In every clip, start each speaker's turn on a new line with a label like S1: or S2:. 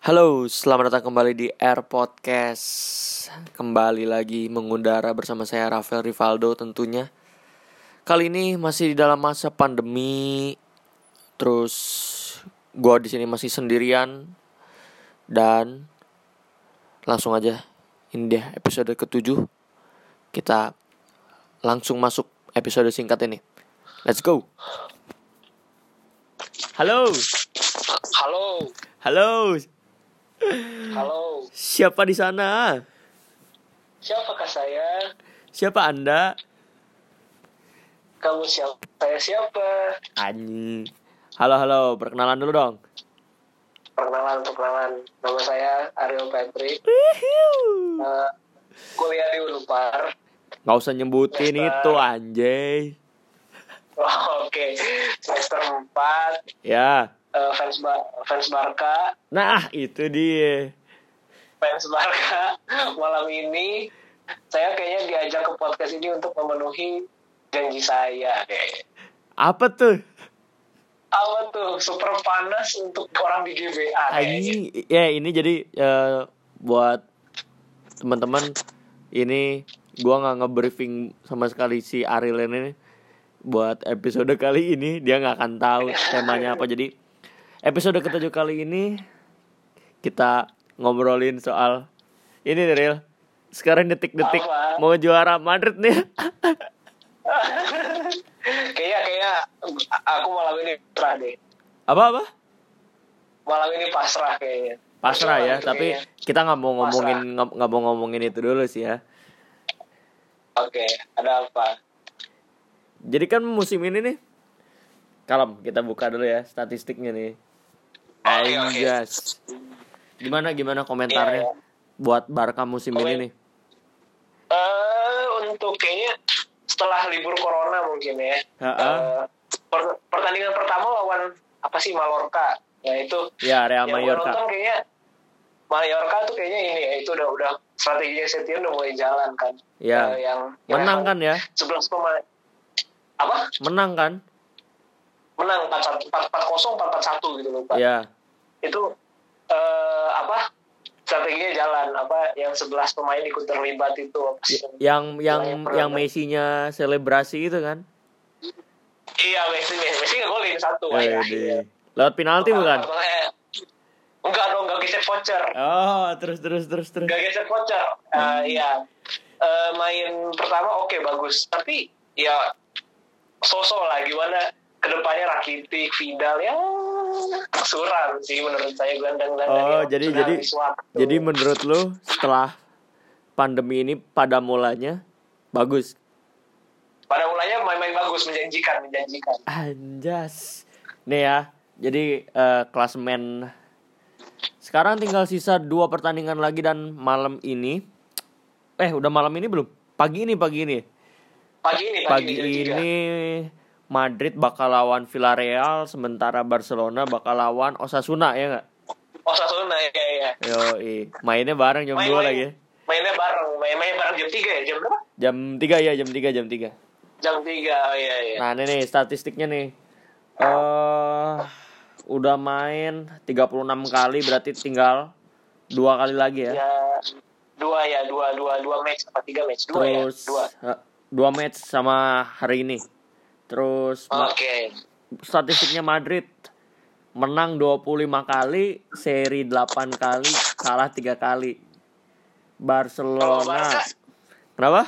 S1: Halo, selamat datang kembali di Air Podcast. Kembali lagi mengudara bersama saya Rafael Rivaldo tentunya. Kali ini masih di dalam masa pandemi. Terus gua di sini masih sendirian dan langsung aja ini dia episode ketujuh. Kita langsung masuk episode singkat ini. Let's go. Halo,
S2: Halo,
S1: halo.
S2: halo.
S1: Siapa di sana?
S2: Siapakah saya?
S1: Siapa Anda?
S2: Kamu siapa? Saya siapa?
S1: Anjing. Halo halo, perkenalan dulu dong.
S2: Perkenalan, perkenalan. Nama saya Ariel Patrick. Eh, kuliah di Unpar.
S1: Nggak usah nyebutin
S2: Mister.
S1: itu anjay.
S2: Oh, Oke, semester 4.
S1: Ya.
S2: eh, fans, ba- fans Barca.
S1: Nah, itu dia.
S2: Fans Barca. Malam ini saya kayaknya diajak ke podcast ini untuk memenuhi janji saya.
S1: Apa tuh?
S2: Apa tuh? Super panas untuk orang di GBA. kayaknya.
S1: Anjing. Ya, ini jadi eh, buat teman-teman ini gua nggak nge-briefing sama sekali si Ariel ini buat episode kali ini dia nggak akan tahu temanya apa jadi episode ketujuh kali ini kita ngobrolin soal ini nih Ril sekarang detik-detik
S2: Apa?
S1: mau juara Madrid nih
S2: kayaknya kayaknya aku malam ini pasrah deh
S1: apa apa
S2: malam ini pasrah kayaknya
S1: pasrah ya
S2: Malam ini
S1: tapi
S2: kayaknya.
S1: kita nggak mau ngomongin nggak nggak mau ngomongin itu dulu sih ya
S2: oke ada apa
S1: jadi kan musim ini nih kalem kita buka dulu ya statistiknya nih
S2: Oke, oke.
S1: Anjas gimana gimana komentarnya
S2: Iya,
S1: buat Barca musim
S2: Komen-
S1: ini nih
S2: eh untuk kayaknya setelah libur corona mungkin ya
S1: Ha-ha.
S2: Eh, per- pertandingan pertama lawan apa sih Mallorca nah itu
S1: ya Real
S2: yang gua
S1: Mallorca
S2: nonton kayaknya Mallorca tuh kayaknya ini ya itu udah udah strateginya Setien udah mulai jalan kan
S1: Iya.
S2: Eh, yang
S1: menang kan ya
S2: sebelas pemain apa
S1: menang kan
S2: menang 4-1, 4-0, 4-1 gitu lupa.
S1: ya
S2: Itu eh, apa? Strateginya jalan apa yang 11 pemain ikut terlibat itu apa
S1: Iya,
S2: sih?
S1: ya, yang yang
S2: Yang
S1: yang
S2: pertama.
S1: Messi-nya selebrasi itu kan
S2: Iya, Messi Messi nggak golin satu ya.
S1: Eh,
S2: aja.
S1: di- lewat penalti bukan
S2: Enggak dong, enggak geser voucher.
S1: oh terus terus terus terus
S2: Enggak geser voucher.
S1: Hmm.
S2: Eh, iya. Eh, main pertama oke bagus, tapi ya sosok lah gimana kedepannya Rakitic, Vidal ya suram sih menurut saya gelandang-gelandang
S1: Oh,
S2: yang
S1: jadi
S2: sudah
S1: jadi
S2: habis waktu.
S1: jadi menurut lu setelah pandemi ini pada mulanya bagus.
S2: pada mulanya main-main bagus menjanjikan menjanjikan
S1: Anjas. Nih ya. Jadi eh, klasemen sekarang tinggal sisa dua pertandingan lagi dan malam ini eh udah malam ini belum? Pagi ini pagi ini.
S2: pagi ini
S1: Pagi
S2: jam tiga.
S1: ini Madrid bakal lawan Villarreal sementara Barcelona bakal lawan Osasuna ya enggak?
S2: Osasuna ya ya
S1: Yoi, mainnya bareng jam 2 lagi. ya.
S2: mainnya bareng main-main bareng jam 3 ya jam berapa
S1: Jam 3 ya, jam 3 jam 3.
S2: jam 3 oh iya iya
S1: Nah ini nih statistiknya nih eh Udah main 36 kali berarti tinggal dua kali lagi ya,
S2: ya dua ya dua dua dua match apa tiga match dua
S1: Terus
S2: ya dua
S1: eh, dua match sama hari ini Terus ma-
S2: oke
S1: statistiknya Madrid Menang 25 kali, seri 8 kali, kalah 3 kali
S2: kalau
S1: Barcelona
S2: Barca
S1: Kenapa?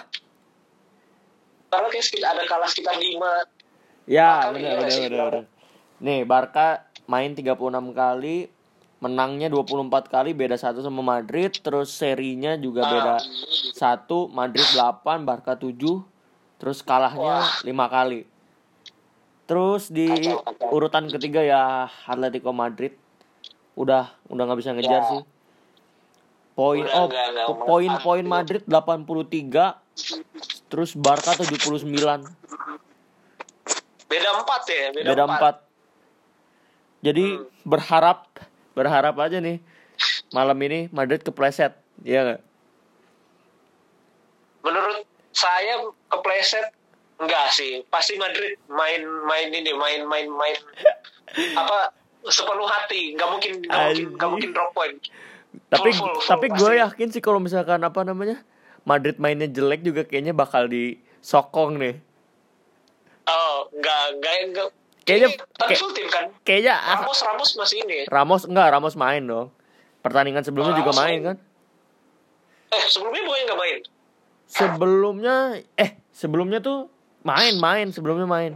S2: kalau kayak sekitar- ada kalah sekitar lima
S1: Ya,
S2: Barca
S1: benar
S2: iya
S1: benar
S2: sih,
S1: benar. benar.
S2: benar.
S1: Nih, Barca main 36 kali, menangnya 24 kali beda satu sama Madrid, terus serinya juga
S2: Ah.
S1: beda satu, Madrid 8, Barca 7, terus kalahnya
S2: Wah.
S1: lima kali. Terus di
S2: Kacau, kacau.
S1: urutan ketiga ya Atletico Madrid udah udah nggak bisa ngejar
S2: Ya.
S1: sih. Poin
S2: Udah
S1: oh,
S2: nggak- nggak mau
S1: poin-poin
S2: tahan.
S1: Madrid 83 terus Barca 79
S2: beda empat ya beda,
S1: beda
S2: empat. Hmm.
S1: empat. Jadi berharap berharap aja nih malam ini Madrid kepleset, ya nggak?
S2: menurut saya kepleset enggak sih pasti Madrid main main ini main main main apa sepenuh hati nggak mungkin nggak mungkin nggak
S1: Anjing.
S2: mungkin drop point
S1: tapi
S2: Oh, Full, full, full,
S1: tapi gue
S2: pasti.
S1: yakin sih kalau misalkan apa namanya Madrid mainnya jelek juga kayaknya bakal disokong nih
S2: oh nggak nggak nggak
S1: Kayaknya-
S2: Ini- tapi
S1: kayak-
S2: full tim kan
S1: kayaknya ah,
S2: Ramos Ramos masih ini
S1: Ramos enggak Ramos main dong pertandingan sebelumnya
S2: Oh,
S1: juga
S2: Ramos
S1: main
S2: main.
S1: kan
S2: eh sebelumnya bukannya nggak main
S1: sebelumnya eh sebelumnya tuh main main sebelumnya main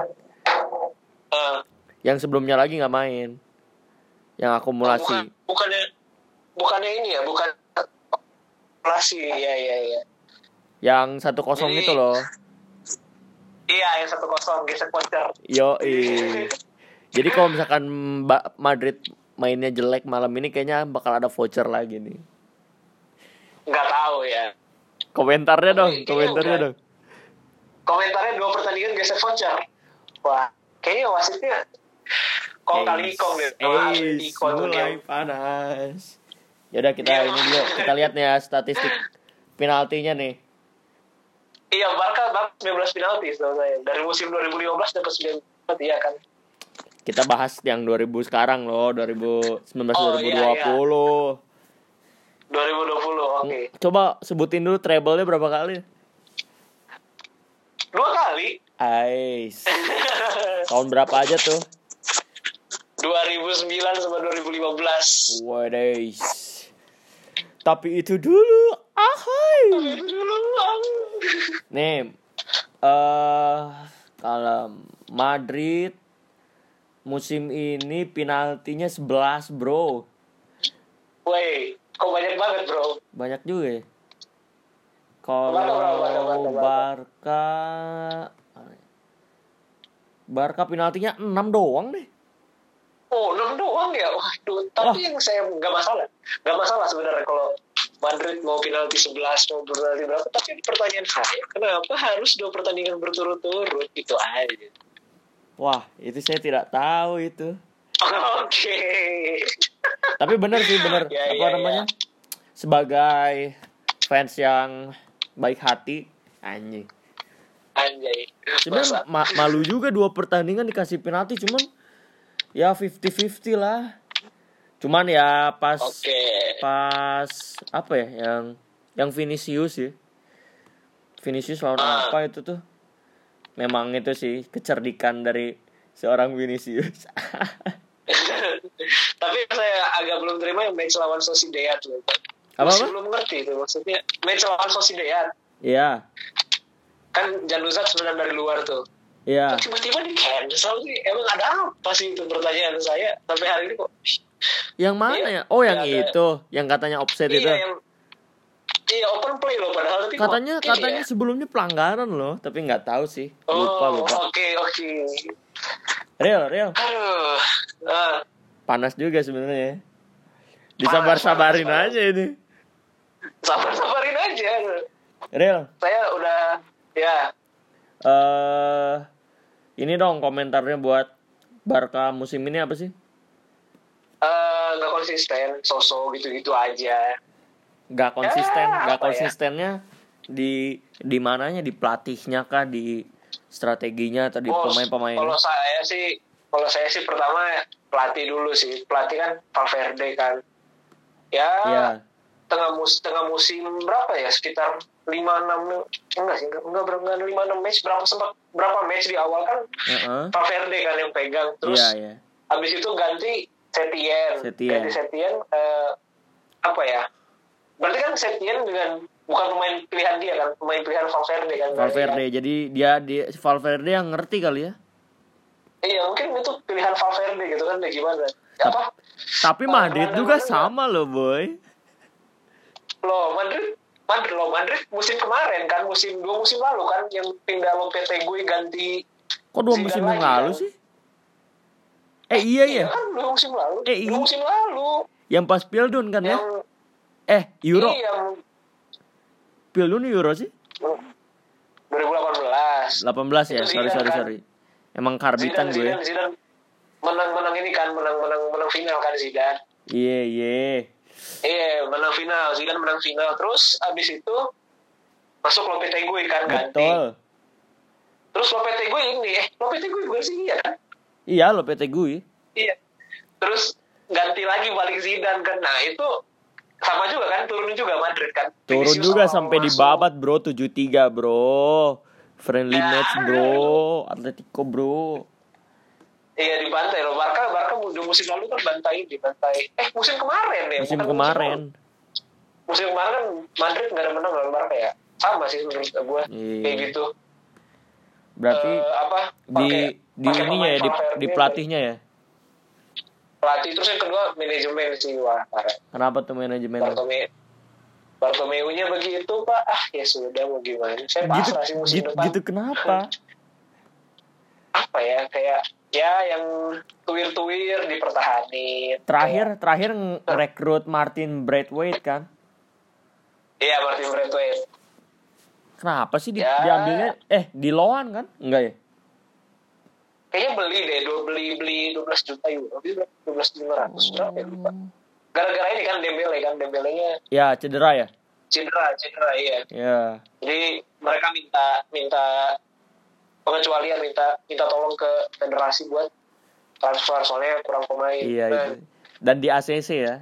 S2: Eh,
S1: yang sebelumnya lagi nggak main yang akumulasi
S2: bukan bukannya bukannya ini ya bukan akumulasi ya ya ya
S1: yang satu kosong
S2: Jadi-
S1: itu loh
S2: iya yang satu kosong gesek voucher
S1: yo jadi kalau misalkan Ba- Madrid mainnya jelek malam ini kayaknya bakal ada voucher lagi nih
S2: nggak tahu ya
S1: komentarnya dong
S2: Iya,
S1: komentarnya
S2: udah.
S1: dong
S2: komentarnya dua pertandingan gesek voucher wah kayaknya wasitnya kong kali kong deh Ah, Wah,
S1: Eis,
S2: kong tuh dia.
S1: mulai panas Yaudah kita
S2: Iya.
S1: ini dulu kita lihat nih ya statistik penaltinya nih
S2: iya Barca Barca 19 penalti setahu saya dari musim 2015 dapat 19 penalti ya kan
S1: kita bahas yang 2000 sekarang loh 2019
S2: Oh,
S1: 2020
S2: iya, iya. 2020 oke
S1: coba sebutin dulu treble-nya berapa kali
S2: dua kali
S1: Ais tahun berapa aja tuh
S2: 2009 sama 2015
S1: Wadais tapi itu dulu ahai
S2: dulu Bang.
S1: Nih, eh kalau Madrid musim ini penaltinya 11, Bro.
S2: Woi, kok banyak banget bro?
S1: Banyak juga ya. Kalau
S2: Barca, Barca, Barca, Barca,
S1: Barca Barca penaltinya 6 doang nih.
S2: Oh, 6 doang ya? Waduh, tapi yang saya nggak masalah. Nggak masalah sebenarnya kalau Madrid mau penalti 11, mau penalti berapa. Tapi pertanyaan saya, kenapa harus dua pertandingan berturut-turut? Itu aja.
S1: Wah, itu saya tidak tahu itu.
S2: Oke.
S1: Tapi bener sih, bener.
S2: Ya,
S1: Apa
S2: ya,
S1: namanya? Sebagai fans yang baik hati, anjing.
S2: Anjay. Masa?
S1: Sebenarnya ma- malu juga dua pertandingan dikasih penalti cuman ya 50-50 lah. Cuman ya pas
S2: Oke.
S1: pas apa ya yang yang Vinicius ya. Vinicius lawan
S2: Ah.
S1: apa itu tuh? Memang itu sih kecerdikan dari seorang Vinicius.
S2: tapi saya agak belum terima yang match lawan Sociedad. loh.
S1: Apa,
S2: Masih
S1: apa?
S2: belum ngerti itu maksudnya. Match lawan Sociedad.
S1: Iya.
S2: Kan Januzat sebenarnya dari luar tuh.
S1: Iya.
S2: Kok tiba-tiba di cancel sih emang ada apa sih itu pertanyaan saya sampai hari ini kok
S1: Yang mana ya? Oh, yang
S2: Iya, ada.
S1: itu, yang katanya offset itu.
S2: iya yang iya open play loh padahal tapi kok-
S1: Katanya
S2: iya.
S1: katanya sebelumnya pelanggaran loh, tapi nggak tahu sih. Lupa,
S2: oh
S1: lupa.
S2: oke oke
S1: Real, real.
S2: aduh Ah,
S1: panas juga sebenarnya disabar sabarin
S2: panas,
S1: aja ini
S2: sabar sabarin aja
S1: real
S2: saya udah ya
S1: eh ini dong komentarnya buat Barca musim ini apa sih
S2: eh, nggak konsisten sosok gitu gitu aja
S1: nggak konsisten
S2: Ya,
S1: nggak
S2: apa ya?
S1: konsistennya di di mananya di pelatihnya kah di strateginya atau di
S2: Oh,
S1: pemain-pemainnya
S2: kalau saya sih kalau saya sih pertama pelatih dulu sih pelatih kan Valverde kan
S1: ya
S2: tengah musim tengah musim berapa ya sekitar lima enam enggak sih enggak enggak berapa enggak lima enam match berapa sempat berapa match di awal kan
S1: heeh.
S2: Valverde kan yang pegang terus
S1: iya ya
S2: habis itu ganti Setien,
S1: Setien.
S2: ganti Setien eh, apa ya berarti kan Setien dengan bukan pemain pilihan dia kan pemain pilihan Valverde kan berarti kan?
S1: Valverde jadi dia di Valverde yang ngerti kali ya
S2: iya mungkin itu pilihan Valverde gitu kan ya gimana Ya, apa
S1: tapi
S2: Kalau
S1: Madrid
S2: kemarin
S1: juga
S2: kan-
S1: sama loh boy
S2: lo Madrid Madrid lo Madrid musim kemarin kan musim dua musim lalu kan yang pindah Lopetegui ganti
S1: kok dua
S2: Zidane
S1: musim yang
S2: lagi
S1: lalu
S2: kan?
S1: sih eh iya ya
S2: kan dua musim lalu
S1: Eh,
S2: dua
S1: ini-
S2: musim lalu
S1: yang pas Pildun kan ya
S2: yang
S1: Eh, Euro.
S2: iya yang
S1: Pildun Euro sih. 18 ya.
S2: 2018 Itu
S1: Sorry,
S2: Zidane,
S1: sorry,
S2: kan?
S1: sorry. Emang karbitan
S2: Zidane
S1: gue.
S2: Zidane Zidane menang menang ini kan menang menang menang final kan Zidane
S1: Iya, iya.
S2: iya menang final Zidane menang final terus abis itu masuk Lopetegui kan ganti
S1: Betul.
S2: terus Lopetegui ini eh Lopetegui bukan sih iya kan
S1: Iya, lo PT gue.
S2: iya terus ganti lagi balik Zidane kan nah itu sama juga kan turun juga Madrid kan
S1: Turun
S2: Vinicius
S1: juga
S2: sama
S1: sampai
S2: Masuk.
S1: dibabat bro 73 bro. Friendly
S2: Ya.
S1: match bro, Atletico bro.
S2: iya dibantai loh Barca Barca udah musim lalu kan bantai dibantai eh musim kemarin ya
S1: Musim
S2: bukan
S1: kemarin.
S2: lalu. musim kemarin kan Madrid nggak ada menang lawan Barca ya sama sih menurut gue
S1: Iya.
S2: kayak gitu
S1: Berarti
S2: Eh,
S1: di
S2: apa pakai-
S1: di
S2: pakai
S1: ininya ya
S2: pemain
S1: di,
S2: Valverde
S1: di pelatihnya ya.
S2: pelatih terus yang kedua manajemen sih wah parah
S1: Kenapa tuh manajemennya?
S2: Bartomeu Bartomeu-nya begitu pak ah ya sudah mau gimana saya
S1: Gitu
S2: pasrah sih musim
S1: gitu,
S2: depan
S1: gitu kenapa?
S2: apa ya kayak ya yang tuir-tuir dipertahanin Iya.
S1: Terakhir terakhir rekrut Martin Braithwaite kan.
S2: Kayak- iya Martin Braithwaite
S1: Kenapa sih di,
S2: Ya.
S1: diambilnya eh di loan kan? Enggak ya?
S2: kayaknya beli deh dua beli beli 12 juta euro dua belas berapa ya lupa
S1: Hmm.
S2: gara-gara ini kan Dembele kan Dembelenya
S1: Ya cedera ya?
S2: cedera cedera iya
S1: Ya.
S2: jadi mereka minta minta pengecualian minta minta tolong ke federasi buat transfer soalnya kurang pemain
S1: Iya
S2: Nah,
S1: itu. Dan di ACC ya.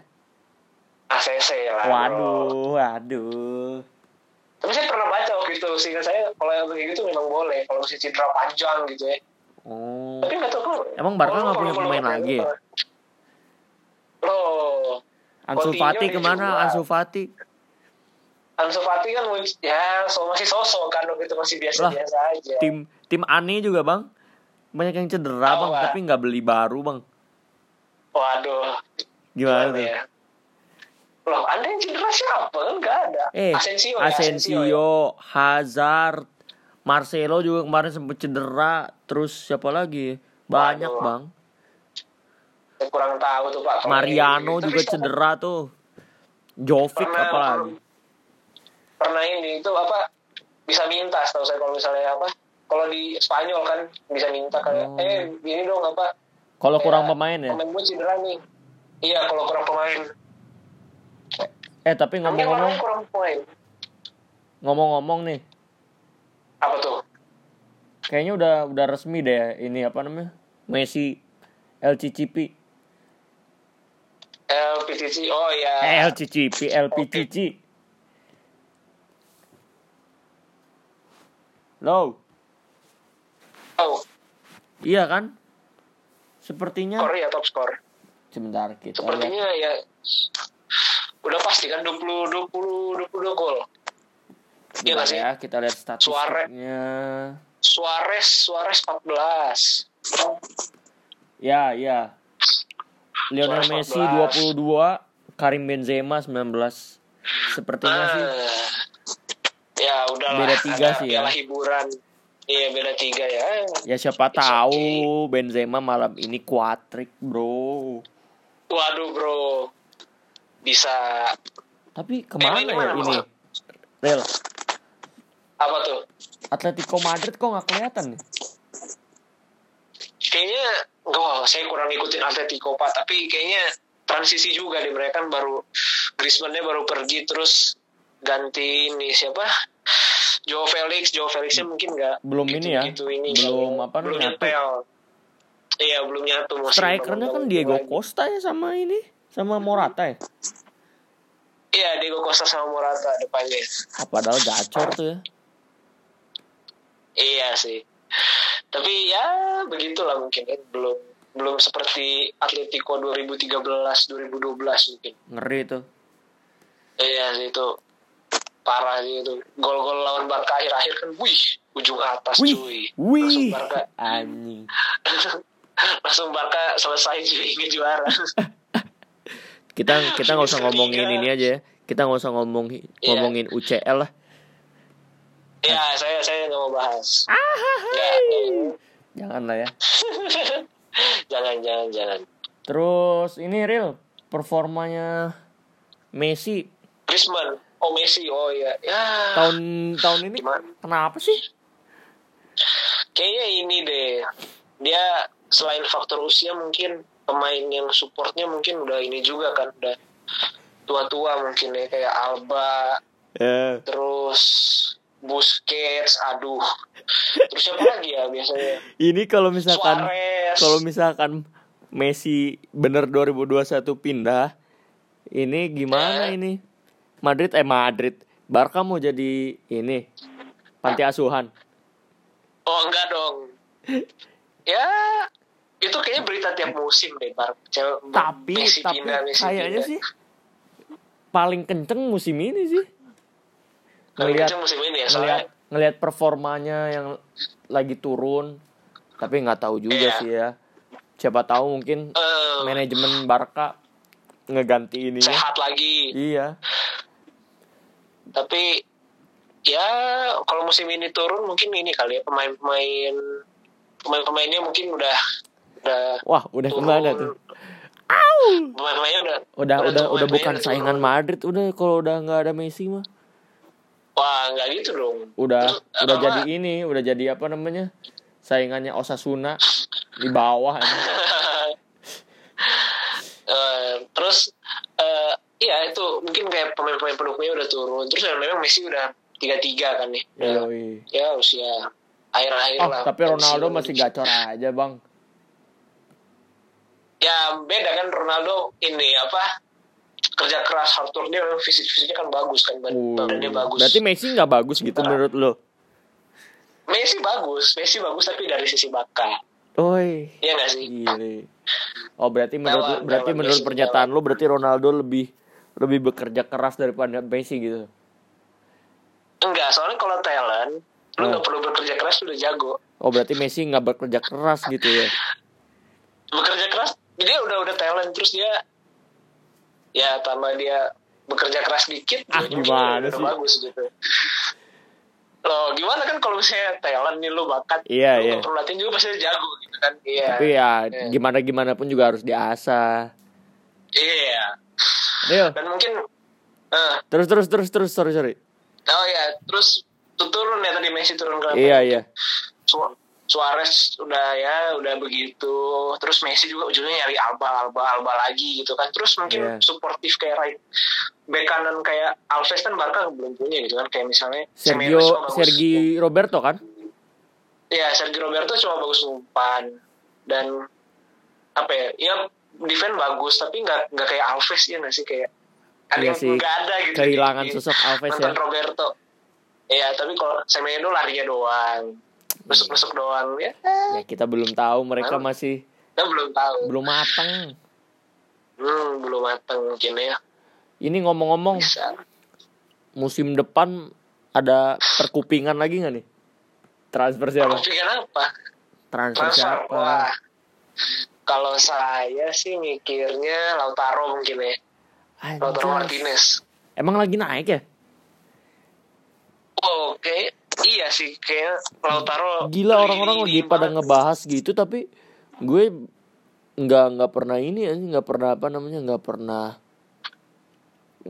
S2: ACC lah bro.
S1: Waduh, waduh.
S2: tapi saya pernah baca waktu itu sehingga saya kalau yang kayak gitu memang boleh kalau masih cedera panjang gitu ya
S1: Oh.
S2: tapi nggak tahu kenapa.
S1: Emang Barca
S2: Kalau-
S1: nggak punya
S2: kalau-
S1: pemain
S2: kalau-
S1: lagi ya?
S2: loh
S1: Ansu
S2: Coutinho
S1: Fati
S2: dijual.
S1: kemana? Ansu Fati.
S2: Ansu Fati kan muncul- ya so, masih sosok kan waktu itu masih biasa-biasa aja
S1: Tim tim aneh juga bang. Banyak yang cedera
S2: Tahu,
S1: bang,
S2: Pak.
S1: tapi nggak beli baru bang.
S2: waduh
S1: Gimana
S2: Gimana
S1: tuh?
S2: ya? Loh, anda yang cedera siapa? Kan nggak ada.
S1: Eh,
S2: Asensio, ya, ya.
S1: Asensio, Hazard, Marcelo juga kemarin sempet cedera. Terus siapa lagi? Banyak
S2: Waduh.
S1: bang.
S2: Saya kurang tahu tuh Pak. Kalau gitu.
S1: Mariano
S2: ini- itu
S1: juga
S2: bisa-
S1: cedera tuh. Jovic
S2: Pernah-
S1: apalagi.
S2: Pernah ini itu apa? Bisa minta, setahu saya kalau misalnya apa? Kalau di Spanyol kan bisa minta kayak,
S1: Oh.
S2: eh ini dong apa?
S1: Kalau
S2: kayak,
S1: kurang pemain ya.
S2: Iya. Pemain gue cedera nih. Iya, kalau kurang pemain.
S1: Eh tapi
S2: Mungkin orangnya
S1: ngomong-ngomong,
S2: kurang pemain.
S1: ngomong-ngomong nih,
S2: Apa tuh?
S1: kayaknya udah udah resmi deh ini apa namanya Messi LCCP
S2: LPCC, oh iya.
S1: eh LCCP LPCC lo
S2: Oh,
S1: iya kan sepertinya
S2: Korea top score.
S1: sebentar kita lihat.
S2: sepertinya ya udah pasti kan 20 20 22 gol.
S1: Sebentar
S2: Iya nggak sih?
S1: ya kita lihat statusnya
S2: Suarez Suarez 14.
S1: ya ya Lionel
S2: Suarez
S1: Messi 22
S2: 14.
S1: Karim Benzema 19 sepertinya Iya sih
S2: Ah. Ya udahlah.
S1: Beda tiga
S2: ada
S1: sih ya.
S2: piala hiburan. Iya beda tiga ya.
S1: Ya siapa
S2: It's
S1: tahu Benzema malam ini kuatrik, bro.
S2: Waduh bro. Bisa
S1: Tapi kemana
S2: Emang ini
S1: ya
S2: mana,
S1: ini?
S2: Bro?
S1: Real,
S2: apa tuh?
S1: Atletico Madrid kok nggak kelihatan ya? nih?
S2: Kayaknya wah saya kurang ngikutin Atletico Pak, tapi kayaknya transisi juga deh mereka kan baru Griezmann-nya baru pergi terus ganti ini siapa? Joe Felix, Joe Felixnya mungkin nggak
S1: Belum ini ya,
S2: gitu-gitu ini.
S1: belum apa
S2: belum
S1: namanya,
S2: nyetel. Iya belum nyatu masih
S1: Strikernya kan
S2: bangun-bangun
S1: Diego
S2: lagi.
S1: Costa ya sama ini, sama Morata ya.
S2: Iya Diego Costa sama Morata depannya.
S1: Ah, Padahal gacor tuh ya.
S2: Iya sih. Tapi ya begitulah mungkin ya. belum belum seperti Atletico 2013 2012 mungkin.
S1: Ngeri tuh.
S2: Iya sih itu parah sih itu. Gol-gol lawan Barca akhir-akhir kan, wih, ujung atas cuy.
S1: Wih,
S2: Langsung
S1: wih,
S2: Barca,
S1: anjing.
S2: langsung Barca selesai cuy ke juara.
S1: Kita kita nggak usah
S2: Bisa
S1: ngomongin
S2: tiga.
S1: ini aja ya. Kita nggak usah ngomongin
S2: Iya.
S1: ngomongin UCL lah.
S2: ya saya saya nggak mau bahas. Ya,
S1: Jangan lah ya.
S2: jangan jangan jangan.
S1: Terus ini real performanya Messi
S2: Griezmann, oh Messi, oh iya, ya
S1: tahun tahun ini
S2: Gimana?
S1: kenapa sih?
S2: kayaknya ini deh. Dia selain faktor usia mungkin pemain yang supportnya mungkin udah ini juga kan udah tua-tua mungkin ya kayak Alba,
S1: Eh,
S2: terus Busquets, aduh. Terus siapa lagi ya biasanya?
S1: ini kan. kalau misalkan
S2: Suarez.
S1: kalau misalkan Messi bener 2021 pindah, ini gimana
S2: Ya.
S1: ini? Madrid eh Madrid, Barca mau jadi ini panti asuhan.
S2: Oh enggak dong. ya itu kayaknya berita tiap musim deh Bar. Cewek-
S1: Tapi
S2: Messi
S1: tapi
S2: pindah, Messi
S1: kayaknya
S2: pindah.
S1: sih paling kenceng musim ini sih.
S2: Paling
S1: ngeliat-
S2: kenceng musim ini ya soalnya.
S1: Ngelihat ngelihat performanya yang lagi turun, tapi nggak tahu juga
S2: Iya.
S1: sih ya. Siapa tahu mungkin
S2: eh,
S1: manajemen Barca ngeganti ininya.
S2: sehat lagi.
S1: Iya.
S2: Tapi ya kalau musim ini turun mungkin ini kali ya pemain-pemain pemain-pemainnya mungkin udah udah
S1: Wah, udah kemana
S2: turun.
S1: tuh?
S2: Pemain-pemainnya udah
S1: Udah
S2: ya. tuh,
S1: udah udah
S2: pemain-pemainnya
S1: bukan
S2: udah
S1: saingan
S2: turun. iya.
S1: Madrid udah kalau udah nggak ada Messi mah.
S2: Wah, nggak gitu dong.
S1: Udah
S2: Terus,
S1: udah
S2: apa-
S1: jadi ini, udah jadi apa namanya? Saingannya Osasuna di bawah. anjing.
S2: Eh, terus eh ya itu mungkin kayak pemain-pemain pendukungnya udah turun terus yang memang Messi udah tiga tiga kan nih ya,
S1: Yoi.
S2: ya usia
S1: Iya.
S2: akhir-akhir
S1: Oh,
S2: Iya lah Kan
S1: tapi Ronaldo masih gacor aja, Bang.
S2: ya beda kan Ronaldo ini apa kerja keras hard work dia memang fisik fisiknya kan bagus kan bad-
S1: Uh,
S2: badannya bagus
S1: Berarti Messi nggak bagus gitu
S2: Nah.
S1: menurut lo?
S2: Messi bagus Messi bagus tapi dari sisi bakat
S1: Oi,
S2: Iya nggak sih
S1: gile. Oh, berarti menurut
S2: Lawan-
S1: berarti
S2: lawan
S1: menurut
S2: Messi,
S1: pernyataan lo berarti Ronaldo lebih lebih bekerja keras daripada Messi gitu. Iya.
S2: enggak soalnya kalau talent lu
S1: Oh.
S2: nggak perlu bekerja keras lu udah jago
S1: Oh, berarti Messi nggak bekerja keras gitu ya.
S2: Iya. bekerja keras dia udah udah talent terus dia ya tambah dia bekerja keras dikit
S1: Ah,
S2: jadinya
S1: gimana
S2: udah- udah
S1: sih?
S2: bagus gitu loh gimana kan kalau misalnya talent nih lu bakat
S1: Iya,
S2: lu
S1: iya.
S2: nggak perlu latihan juga pasti jago gitu kan iya
S1: Tapi ya
S2: iya.
S1: gimana gimana pun juga harus diasah.
S2: iya
S1: Rio,
S2: dan mungkin eh
S1: terus terus terus terus sorry sorry.
S2: oh ya terus tuh turun ya tadi Messi turun ke
S1: Iya iya.
S2: Su- Suarez udah ya udah begitu terus Messi juga ujungnya nyari Alba Alba Alba lagi gitu kan terus
S1: Iya.
S2: mungkin supportif kayak right back kanan kayak Alves kan Barca belum punya gitu kan kayak misalnya Semedo cuma
S1: Sergio
S2: bagus-
S1: Sergi Roberto kan?
S2: ya Sergio Roberto cuma bagus umpan dan apa ya ya defense bagus tapi nggak nggak kayak Alves ya nggak sih kayak ada
S1: Iya
S2: yang
S1: sih,
S2: nggak ada gitu
S1: kehilangan
S2: Di- di-
S1: sosok Alves
S2: nonton
S1: ya.
S2: Roberto ya tapi kalau Semedo larinya doang nusuk-nusuk doang ya
S1: Ya kita belum tahu mereka masih
S2: kita belum tahu
S1: belum matang.
S2: Hmm, belum matang mungkin ya.
S1: Ini ngomong-ngomong
S2: Bisa.
S1: musim depan ada perkupingan lagi nggak nih? Transfer siapa?
S2: Kupingan apa?
S1: Transfer
S2: Transfer.
S1: Iya.
S2: Wah.
S1: siapa?
S2: Kalau saya sih mikirnya Lautaro mungkin ya.
S1: Anjas.
S2: Lautaro Martinez.
S1: Emang lagi naik ya?
S2: Oh, Oke. Iya sih kayak Lautaro.
S1: Gila orang-orang lagi
S2: leading
S1: pada
S2: banget.
S1: ngebahas gitu tapi gue nggak nggak pernah ini anjing, nggak pernah apa namanya nggak pernah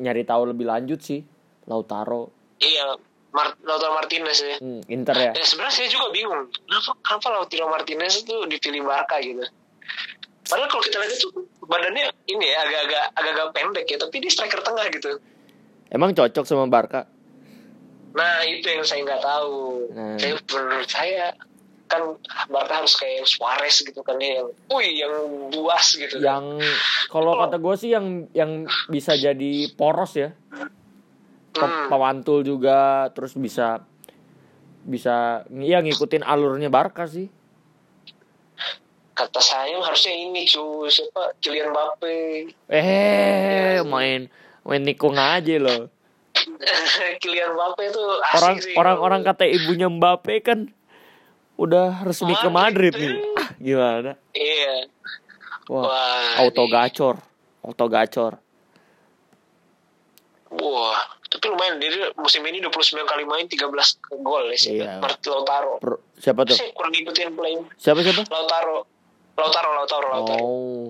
S1: nyari tahu lebih lanjut sih Lautaro
S2: Iya, Mar- Lautaro Martinez ya.
S1: Hmm, Inter ya.
S2: Ya sebenarnya saya juga bingung. Kenapa kenapa Lautaro Martinez itu dipilih Barca gitu? Padahal kalau kita lihat itu badannya ini ya agak-agak agak-agak pendek ya, tapi dia striker tengah gitu.
S1: Emang cocok sama Barca?
S2: Nah itu yang saya nggak tahu.
S1: Nah.
S2: Saya menurut saya kan Barca harus kayak yang Suarez gitu kan ya, yang, wih yang buas gitu. kan.
S1: Yang kalau kata gue sih yang yang bisa jadi poros ya. Pe-
S2: Hmm.
S1: Pewantul juga terus bisa bisa ya ngikutin alurnya Barca sih.
S2: Kata saya harusnya ini cuy siapa Kylian Mbappe,
S1: Eh
S2: Iya,
S1: main main nikung aja loh.
S2: Kylian Mbappe itu asik
S1: orang kan-
S2: sih.
S1: orang orang kata ibunya Mbappe kan udah resmi ke Madrid
S2: Madrid.
S1: nih. Ah, gimana?
S2: Iya.
S1: Wah, Oh,
S2: Wah, iya.
S1: auto gacor, auto gacor.
S2: Wah, tapi lumayan dia musim ini 29 kali main 13 gol ya sih.
S1: Iya.
S2: Martin Lautaro.
S1: Per- siapa tuh?
S2: Saya kurang ngikutin play
S1: Siapa siapa?
S2: Lautaro. Lautaro, Lautaro, Lautaro.
S1: Oh,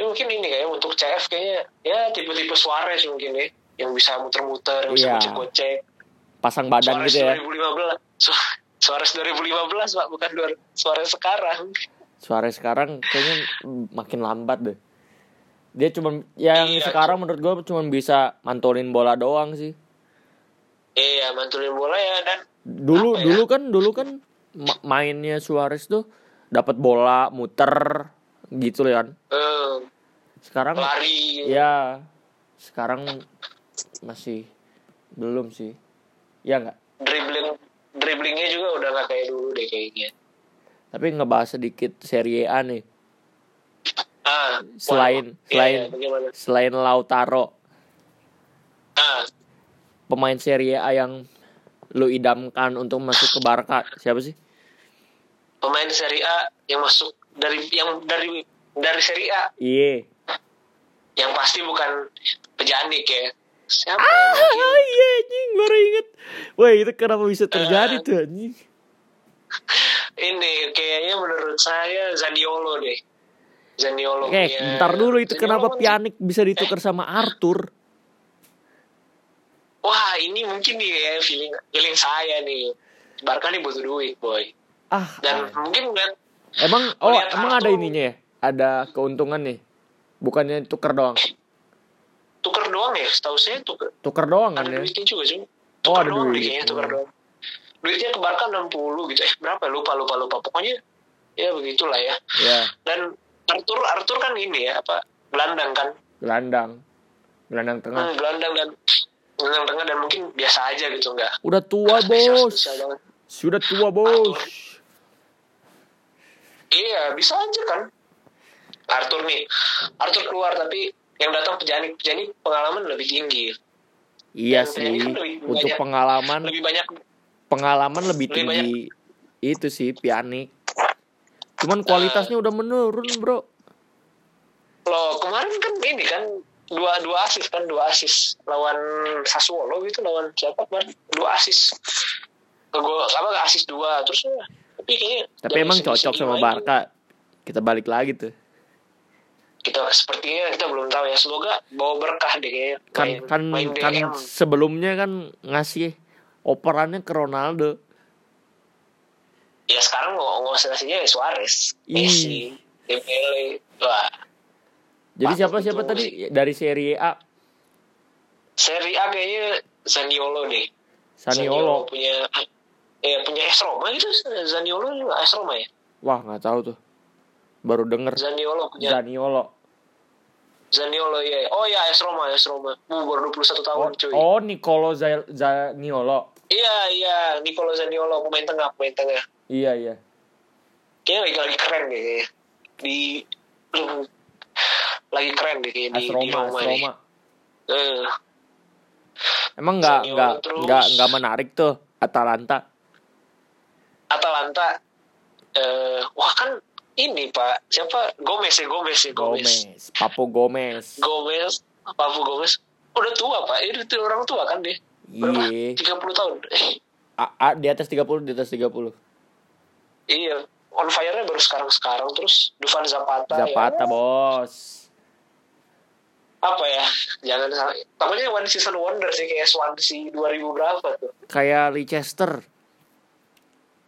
S2: Ya, mungkin ini kayaknya untuk CF kayaknya ya tipe-tipe Suarez mungkin ya yang bisa muter-muter, yang bisa
S1: Iya.
S2: gocek-gocek.
S1: pasang badan
S2: Suarez
S1: gitu ya.
S2: 2015. Su- Suarez 2015 pak bukan dua- Suarez sekarang.
S1: Suarez sekarang kayaknya makin lambat deh. Dia cuman ya yang
S2: Iya,
S1: sekarang menurut gue cuman bisa mantulin bola doang sih.
S2: Iya mantulin bola ya dan
S1: Dulu
S2: Apa ya?
S1: dulu kan dulu kan ma- mainnya Suarez tuh dapat bola muter gitu loh kan
S2: Eh,
S1: sekarang
S2: lari
S1: ya sekarang masih belum sih ya nggak
S2: dribbling dribblingnya juga udah nggak kayak dulu deh kayaknya
S1: tapi ngebahas sedikit Serie A nih
S2: ah
S1: selain
S2: wah, iya,
S1: selain
S2: iya, bagaimana?
S1: selain Lautaro
S2: ah
S1: pemain Serie A yang lu idamkan untuk masuk ke Barca siapa sih
S2: pemain Serie A yang masuk dari yang dari dari Serie A
S1: Iye
S2: yang pasti bukan pejandik ya siapa ya?
S1: ah iya anjing baru inget wah itu kenapa bisa terjadi
S2: Eh,
S1: tuh anjing
S2: ini kayaknya menurut saya Zaniolo deh Zaniolo
S1: eh
S2: ya.
S1: ntar dulu itu
S2: Zaniolo
S1: kenapa
S2: kan-
S1: Pianik bisa ditukar sama Arthur
S2: wah ini mungkin nih ya feeling feeling saya nih Barca nih butuh duit boy
S1: ah
S2: dan mungkin kan
S1: emang oh
S2: Melihat
S1: emang ada
S2: Arthur.
S1: ininya ya ada keuntungan nih bukannya tuker doang
S2: tuker doang ya setahu saya tuker
S1: tuker doang kan ya
S2: ada duitnya juga sih
S1: Oh, ada
S2: Tuker doang
S1: duit.
S2: deh kayaknya tuker
S1: Hmm.
S2: doang duitnya ke Barca 60 gitu eh berapa ya? lupa lupa lupa pokoknya ya begitulah ya
S1: ya
S2: dan Arthur Arthur kan ini ya apa gelandang kan
S1: gelandang gelandang tengah
S2: hmm, gelandang dan gelandang tengah dan mungkin biasa aja gitu enggak
S1: udah tua bos
S2: bisa banget
S1: sudah tua bos
S2: Iya, bisa aja kan. Arthur nih, Arthur keluar tapi yang datang pejanik, pejanik pengalaman lebih tinggi,
S1: iya
S2: Dan
S1: sih
S2: ini kan lebih
S1: untuk
S2: banyak-
S1: pengalaman
S2: lebih banyak.
S1: pengalaman lebih
S2: Lebih
S1: tinggi itu sih pianik cuman kualitasnya udah menurun bro
S2: Loh kemarin kan ini kan dua dua asis kan dua asis lawan Sassuolo gitu lawan siapa kemarin dua asis ke gol apa asis dua terus ya, tapi kayaknya
S1: tapi
S2: dari
S1: emang
S2: segi-
S1: cocok
S2: segi
S1: sama
S2: Iya, main,
S1: Barca kita balik lagi tuh
S2: kita sepertinya kita belum tahu ya semoga bawa berkah deh kayaknya
S1: kan
S2: main-
S1: kan
S2: main
S1: kan
S2: DM.
S1: sebelumnya kan ngasih operannya ke Ronaldo
S2: ya sekarang mau ngosasinya ya Suarez,
S1: Ih.
S2: Messi, Dembele, wah.
S1: jadi
S2: Wah,
S1: siapa
S2: itu
S1: siapa tadi dari Serie A
S2: Seri A kayaknya Zaniolo deh.
S1: Saniolo
S2: punya eh punya AS Roma gitu Zaniolo juga AS Roma ya.
S1: wah nggak tahu tuh baru denger
S2: Zaniolo punya
S1: Zaniolo
S2: Zaniolo ya. Oh ya AS Roma, AS Roma. Uh, baru 21 tahun
S1: oh,
S2: cuy.
S1: oh Nicolo Za- Zaniolo
S2: Iya, iya, Nicolo Zaniolo pemain tengah, pemain tengah.
S1: iya iya
S2: Kayaknya lagi, lagi keren deh kayaknya. Di lagi keren deh kayaknya di,
S1: AS
S2: di
S1: Roma AS
S2: Roma iya. nih.
S1: Roma
S2: Eh,
S1: emang nggak
S2: Zaniolo
S1: nggak
S2: terus.
S1: nggak nggak menarik tuh Atalanta
S2: Atalanta eh wah kan ini Pak, siapa? Gomez ya, Gomez ya, Gomez.
S1: Gomez, Papo Gomez.
S2: Gomez, Papu Gomez udah tua pak, itu tuh orang tua kan dia.
S1: Iya.
S2: Berapa? 30 tahun. Eh,
S1: A- A- di atas 30, di atas 30.
S2: iya, on fire-nya baru sekarang-sekarang terus Dufan Zapata.
S1: Zapata,
S2: ya.
S1: Bos.
S2: Apa ya? Jangan salah. Tampaknya one season wonder sih kayak Swansea 2000 berapa tuh.
S1: Kayak Leicester.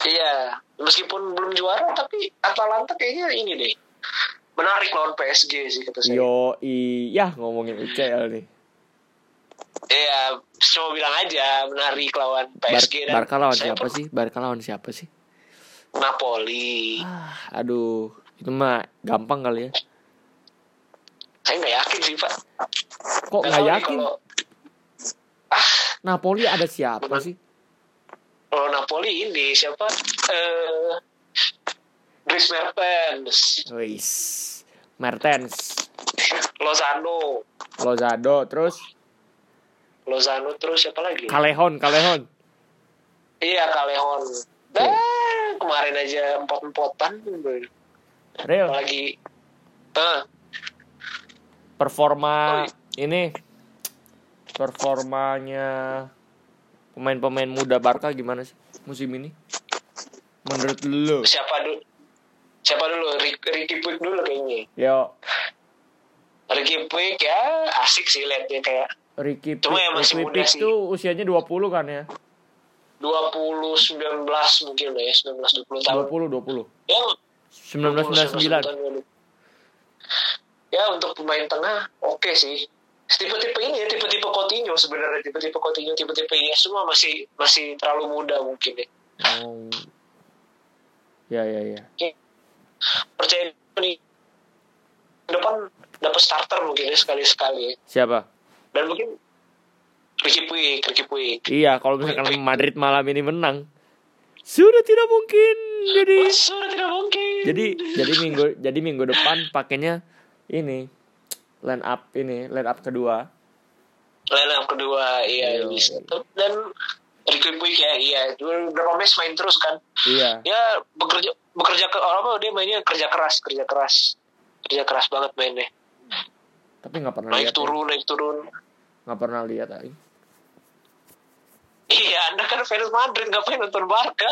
S2: Iya, meskipun belum juara tapi Atalanta kayaknya ini deh. Menarik lawan PSG sih kata saya.
S1: Yo, iya ngomongin UCL nih.
S2: Iya, cuma bilang aja menarik lawan
S1: Bar
S2: PSG dan
S1: Barca lawan
S2: saya
S1: siapa
S2: per-
S1: sih? Barca lawan siapa sih?
S2: Napoli.
S1: Ah, aduh, itu mah gampang kali ya.
S2: Saya nggak yakin sih pak.
S1: Kok
S2: tahu
S1: Oh, nggak
S2: nih
S1: yakin?
S2: kalau-
S1: Napoli ada siapa sih?
S2: kalau Napoli ini siapa eh Dries Mertens
S1: Wis. Mertens,
S2: Lozano
S1: Lozado, terus
S2: Lozano terus siapa lagi
S1: Calehon, Calehon.
S2: iya Calehon Dah, kemarin aja empot-empotan
S1: Real
S2: lagi eh Oh, iya.
S1: performa ini performanya pemain-pemain muda Barca gimana sih musim ini? Menurut lu?
S2: siapa dulu siapa dulu Rick- Ricky Puig dulu kayaknya
S1: Yo,
S2: Ricky Puig ya asik sih liatnya kayak
S1: Ricky
S2: Cuma
S1: Pi-
S2: yang masih
S1: Ricky
S2: muda
S1: Pick
S2: sih.
S1: tuh usianya 20 kan ya?
S2: 20 19 mungkin lah ya 19 20 tahun
S1: 20 20.
S2: ya
S1: 1999.
S2: 1999. Ya untuk pemain tengah oke sih. Tipe-tipe ini ya, tipe-tipe Coutinho sebenarnya, tipe-tipe Coutinho, tipe-tipe ini semua masih masih terlalu muda mungkin ya.
S1: Oh. Ya ya ya.
S2: Percaya nih Son dapat starter mungkin ya sekali-sekali.
S1: Siapa?
S2: Dan mungkin Ricky Puig, Ricky Puig.
S1: Iya, kalau misalkan Madrid malam ini menang, sudah tidak mungkin. Jadi
S2: Wah, sudah tidak mungkin.
S1: jadi jadi minggu jadi minggu depan pakainya ini line up ini line up kedua.
S2: Lain yang kedua, iya
S1: Iya.
S2: bisa. Dan Ricky Puig ya, iya. Dua- Berapa match main terus kan?
S1: Iya.
S2: Ya bekerja bekerja ke orang apa dia mainnya kerja keras, kerja keras, kerja keras banget mainnya.
S1: Tapi nggak pernah lihat.
S2: Naik
S1: ya.
S2: turun, naik turun.
S1: Nggak pernah lihat. ay.
S2: Iya, anda kan fans Madrid, ngapain nonton Barca?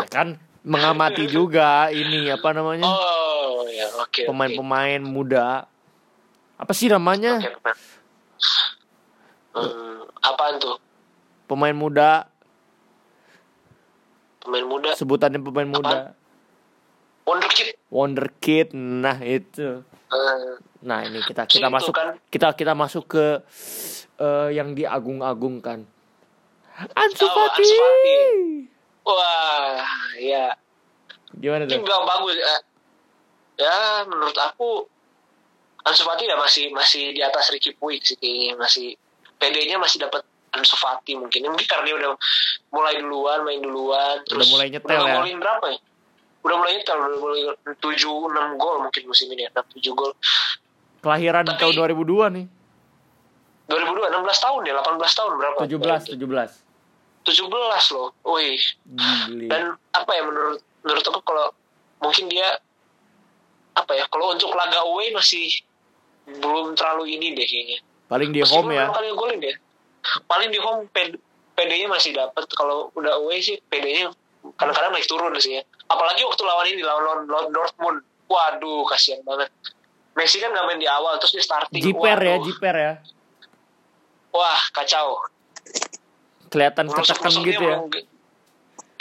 S1: Ya kan mengamati juga ini apa namanya
S2: Oh, ya oke. oke.
S1: pemain-pemain muda. Apa sih namanya
S2: Oke, pemain. Hmm, apaan tuh?
S1: pemain muda?
S2: Pemain muda?
S1: Sebutannya pemain muda.
S2: Wonderkid.
S1: Wonderkid. Nah itu.
S2: Eh,
S1: Nah ini kita kita
S2: Gitu
S1: masuk
S2: kan.
S1: kita kita masuk ke eh, yang diagung-agungkan. Ansu
S2: Oh,
S1: Fati.
S2: Ansu Fati. wah, ya.
S1: Gimana
S2: Ini
S1: tuh?
S2: nggak bagus. ya. Ya, menurut aku Ansu Fati ya masih masih di atas Ricky Puig sih kayaknya masih PD-nya masih dapat Ansu Fati mungkin. Ya, Mungkin karena dia udah mulai duluan, main duluan, terus
S1: mulai nyetel
S2: udah
S1: ya.
S2: ngegolin berapa ya? Udah mulai nyetel, udah mulai 7 6 gol mungkin musim ini, 6 7 gol.
S1: Kelahiran
S2: Tapi-
S1: tahun 2002 nih.
S2: 2002 16 tahun ya, 18 tahun berapa?
S1: 17 17.
S2: 17 loh. Wih.
S1: Gile.
S2: Dan apa ya menurut menurut aku kalau mungkin dia apa ya kalau untuk laga away masih belum terlalu ini deh kayaknya.
S1: Paling di
S2: Meskipun
S1: home ya.
S2: berapa Kali golin deh. Paling di home P- PD-nya masih dapat kalau udah away sih PD-nya kadang-kadang naik turun sih ya. Apalagi waktu lawan ini lawan, lawan, lawan Dortmund. Waduh kasihan banget. Messi kan nggak main di awal terus dia starting.
S1: Jiper ya,
S2: Waduh.
S1: jiper ya.
S2: Wah kacau.
S1: Kelihatan
S2: Menusuk-
S1: ketekan
S2: menusuknya
S1: gitu ya.
S2: emang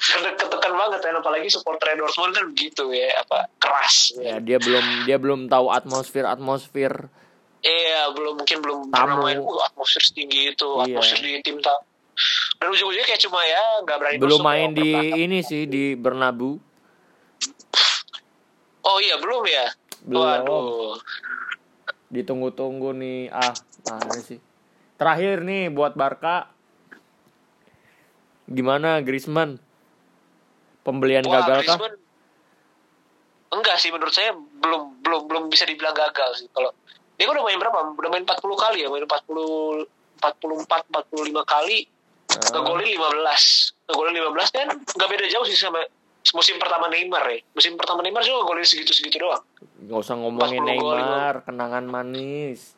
S2: kete- ketekan banget kan apalagi supporter Dortmund kan begitu ya apa keras
S1: Ya,
S2: ya.
S1: dia belum dia belum tahu atmosfer atmosfer.
S2: iya belum mungkin belum pernah
S1: Tamu.
S2: main uh, atmosfer setinggi itu
S1: Iya.
S2: atmosfer di tim tak dan ujung-ujungnya kayak cuma ya nggak berani
S1: Belum
S2: nusuk,
S1: main
S2: oh,
S1: di
S2: belakang.
S1: ini sih di Bernabu.
S2: oh iya belum ya
S1: Belum.
S2: waduh
S1: Ditunggu-tunggu nih. Ah, mana sih? Terakhir nih buat Barca. Gimana Griezmann? Pembelian
S2: Wah,
S1: gagal kah?
S2: Griezmann- enggak sih menurut saya belum belum belum bisa dibilang gagal sih kalau dia kan udah main berapa udah main 40 kali ya main 40 44 45 kali
S1: Ah.
S2: ngegolin 15 ngegolin 15 kan nggak beda jauh sih sama musim pertama Neymar ya musim pertama Neymar juga ngegolin segitu-segitu doang
S1: Nggak usah ngomongin
S2: 40 gol,
S1: Neymar, kenangan manis.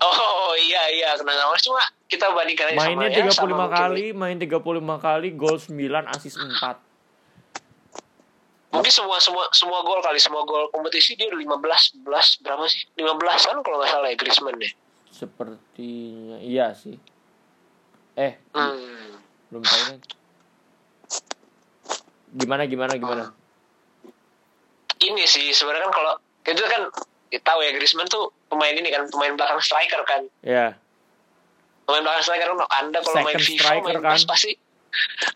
S2: oh iya iya kenangan Mas. cuma kita bandingkan aja
S1: Mainnya
S2: sama, ya,
S1: 35
S2: sama mungkin.
S1: kali, main 35 kali, gol 9, assist 4.
S2: mungkin semua semua semua gol kali semua gol kompetisi dia udah 15 11 berapa sih 15 kan kalau nggak salah ya Griezmann ya
S1: Sepertinya iya sih. Eh,
S2: hmm.
S1: belum tahu kan. Gimana gimana gimana?
S2: Ah. ini sih sebenarnya kan kalau itu kan kita tahu ya Griezmann tuh pemain ini kan pemain belakang striker kan
S1: Ya,
S2: pemain belakang striker kan anda kalau main
S1: Second
S2: FIFA
S1: striker
S2: main
S1: kan?
S2: PES pasti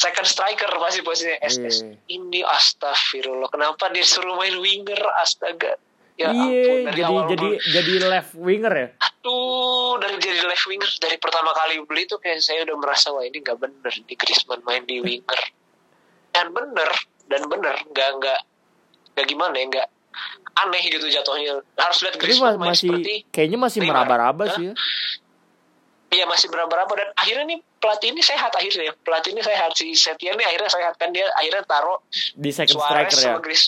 S2: second striker pasti posisinya SS
S1: Iya.
S2: ini astagfirullah kenapa dia suruh main winger astaga ya ampun
S1: iya,
S2: dari
S1: jadi
S2: awal
S1: jadi
S2: dulu.
S1: jadi left winger ya.
S2: aduh dari jadi left winger dari pertama kali beli tuh kayak saya udah merasa wah ini nggak bener di Griezmann main di winger dan bener dan bener nggak nggak nggak gimana ya nggak aneh gitu jatuhnya harus lihat
S1: Tapi ma-
S2: Griezmann main
S1: masih
S2: seperti
S1: kayaknya masih
S2: Neymar.
S1: meraba-raba
S2: Hah?
S1: sih ya.
S2: Iya masih berapa-berapa dan akhirnya nih pelatih ini sehat akhirnya ya. pelatih ini sehat si Setien ini akhirnya sehat kan dia akhirnya taruh
S1: di second
S2: Suarez
S1: striker ya.
S2: sama Gris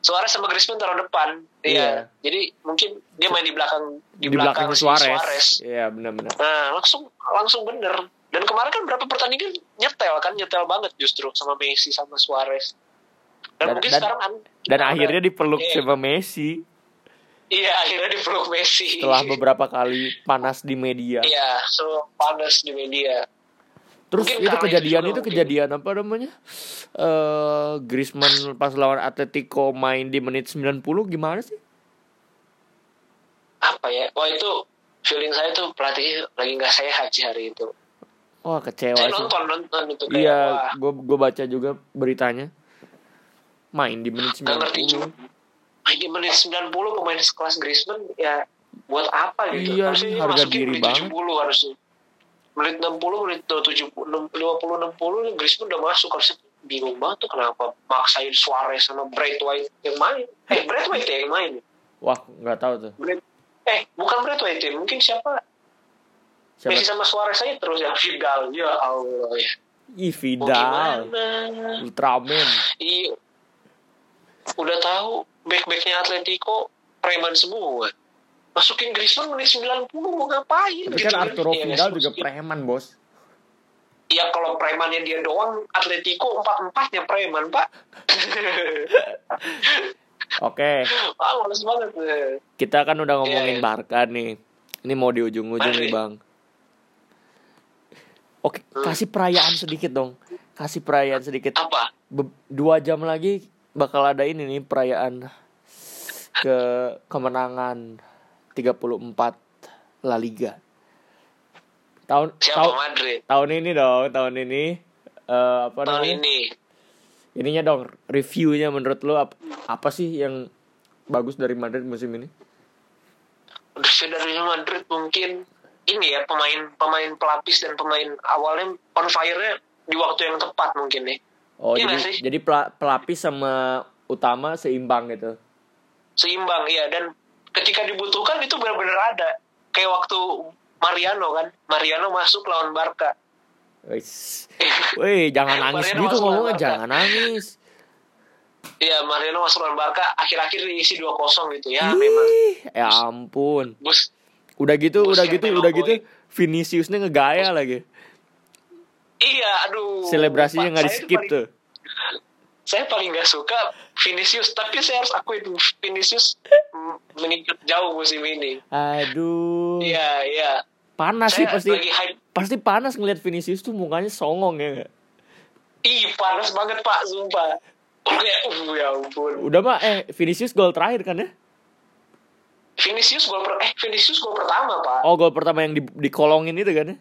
S2: Suarez sama Griezmann taruh depan iya
S1: Iya.
S2: jadi mungkin dia main di belakang
S1: Di, belakang,
S2: si
S1: Suarez. Iya, benar-benar.
S2: nah langsung langsung bener dan kemarin kan berapa pertandingan nyetel kan nyetel banget justru sama Messi sama Suarez dan,
S1: Dan-
S2: mungkin
S1: dan-
S2: sekarang an-
S1: Dan
S2: udah-
S1: akhirnya dipeluk
S2: Iya.
S1: sama Messi
S2: iya akhirnya dipeluk Messi
S1: setelah beberapa kali panas di media.
S2: iya so panas di media
S1: Terus itu
S2: Mungkin karena
S1: kejadian
S2: itu
S1: itu
S2: mungkin.
S1: kejadian apa namanya? Eh Griezmann pas lawan Atletico main di menit 90 gimana sih?
S2: apa ya wah itu feeling saya tuh pelatihnya lagi nggak sehat sih hari itu
S1: Wah, kecewa
S2: saya
S1: sih.
S2: nonton nonton itu kayak wah
S1: Iya, gue baca juga beritanya. Main di menit
S2: nggak ngerti
S1: 90.
S2: cuma anjing menit 90 pemain sekelas Griezmann ya buat apa gitu
S1: Iya,
S2: harusnya
S1: ini
S2: dia
S1: harga
S2: masukin
S1: diri
S2: menit
S1: banget.
S2: 70 harusnya menit 60 menit 70 50 60 Griezmann udah masuk harusnya bingung banget tuh kenapa maksain Suarez sama Bright White yang main eh Bright White ya yang main
S1: Wah, nggak tahu tuh.
S2: Bright- eh bukan Bright White ya mungkin siapa
S1: Siapa?
S2: Messi sama Suarez aja terus ya Vidal ya Allah ya
S1: Ih,
S2: mau
S1: Vidal.
S2: gimana
S1: Ultraman.
S2: Iya. Udah tahu back-backnya Atletico preman semua. Masukin Griezmann menit 90 mau ngapain?
S1: Tapi kan
S2: gitu.
S1: Arturo
S2: Iya,
S1: Vidal
S2: nggak
S1: juga
S2: sih?
S1: preman, Bos.
S2: Iya kalau premannya dia doang Atletico empat-empatnya preman, Pak.
S1: Oke,
S2: Pak males banget.
S1: kita kan udah ngomongin
S2: Iya, iya.
S1: Barca nih. Ini mau di ujung-ujung
S2: Mari.
S1: nih, Bang. Oke, kasih perayaan sedikit dong. Kasih perayaan sedikit.
S2: Apa?
S1: Be- dua jam lagi bakal ada ini nih perayaan ke kemenangan 34 La Liga. Tahun
S2: Siapa
S1: tahun-
S2: Madrid?
S1: tahun ini dong, tahun ini eh, apa
S2: Tahun
S1: namanya?
S2: ini.
S1: Ininya dong reviewnya menurut lo ap- apa sih yang bagus dari Madrid musim ini?
S2: Udah dari Madrid mungkin ini ya pemain pemain pelapis dan pemain awalnya on fire-nya di waktu yang tepat mungkin nih.
S1: Oh,
S2: Iya
S1: jadi
S2: nggak sih?
S1: jadi pela- pelapis sama utama seimbang gitu.
S2: seimbang ya dan ketika dibutuhkan itu benar-benar ada kayak waktu Mariano kan Mariano masuk lawan Barca
S1: Wis. Wih, jangan nangis
S2: Kemarin
S1: gitu
S2: masuk
S1: ngomongnya,
S2: Barca.
S1: jangan nangis.
S2: ya Mariano masuk lawan Barca akhir-akhir diisi 2-0 gitu ya memang
S1: Ih, ya ampun.
S2: bus
S1: Udah gitu,
S2: Buset,
S1: udah gitu,
S2: memang
S1: udah
S2: boy.
S1: gitu Viniciusnya ngegaya lagi.
S2: iya aduh
S1: Selebrasinya
S2: Pak,
S1: nggak
S2: saya
S1: di-skip
S2: paling-
S1: tuh.
S2: saya paling nggak suka Vinicius tapi saya harus akuin Vinicius mm, meningkat jauh musim ini
S1: Aduh.
S2: iya iya
S1: Panas sih
S2: saya
S1: pasti.
S2: lagi hype
S1: Pasti panas ngelihat Vinicius tuh mukanya songong ya nggak?
S2: ih panas banget pak sumpah Kayak, uh, ya ampun.
S1: Udah mah eh Vinicius gol terakhir kan ya?
S2: Vinicius gol per- eh Vinicius gol pertama pak.
S1: Oh, gol pertama yang di, dikolongin itu kan ya?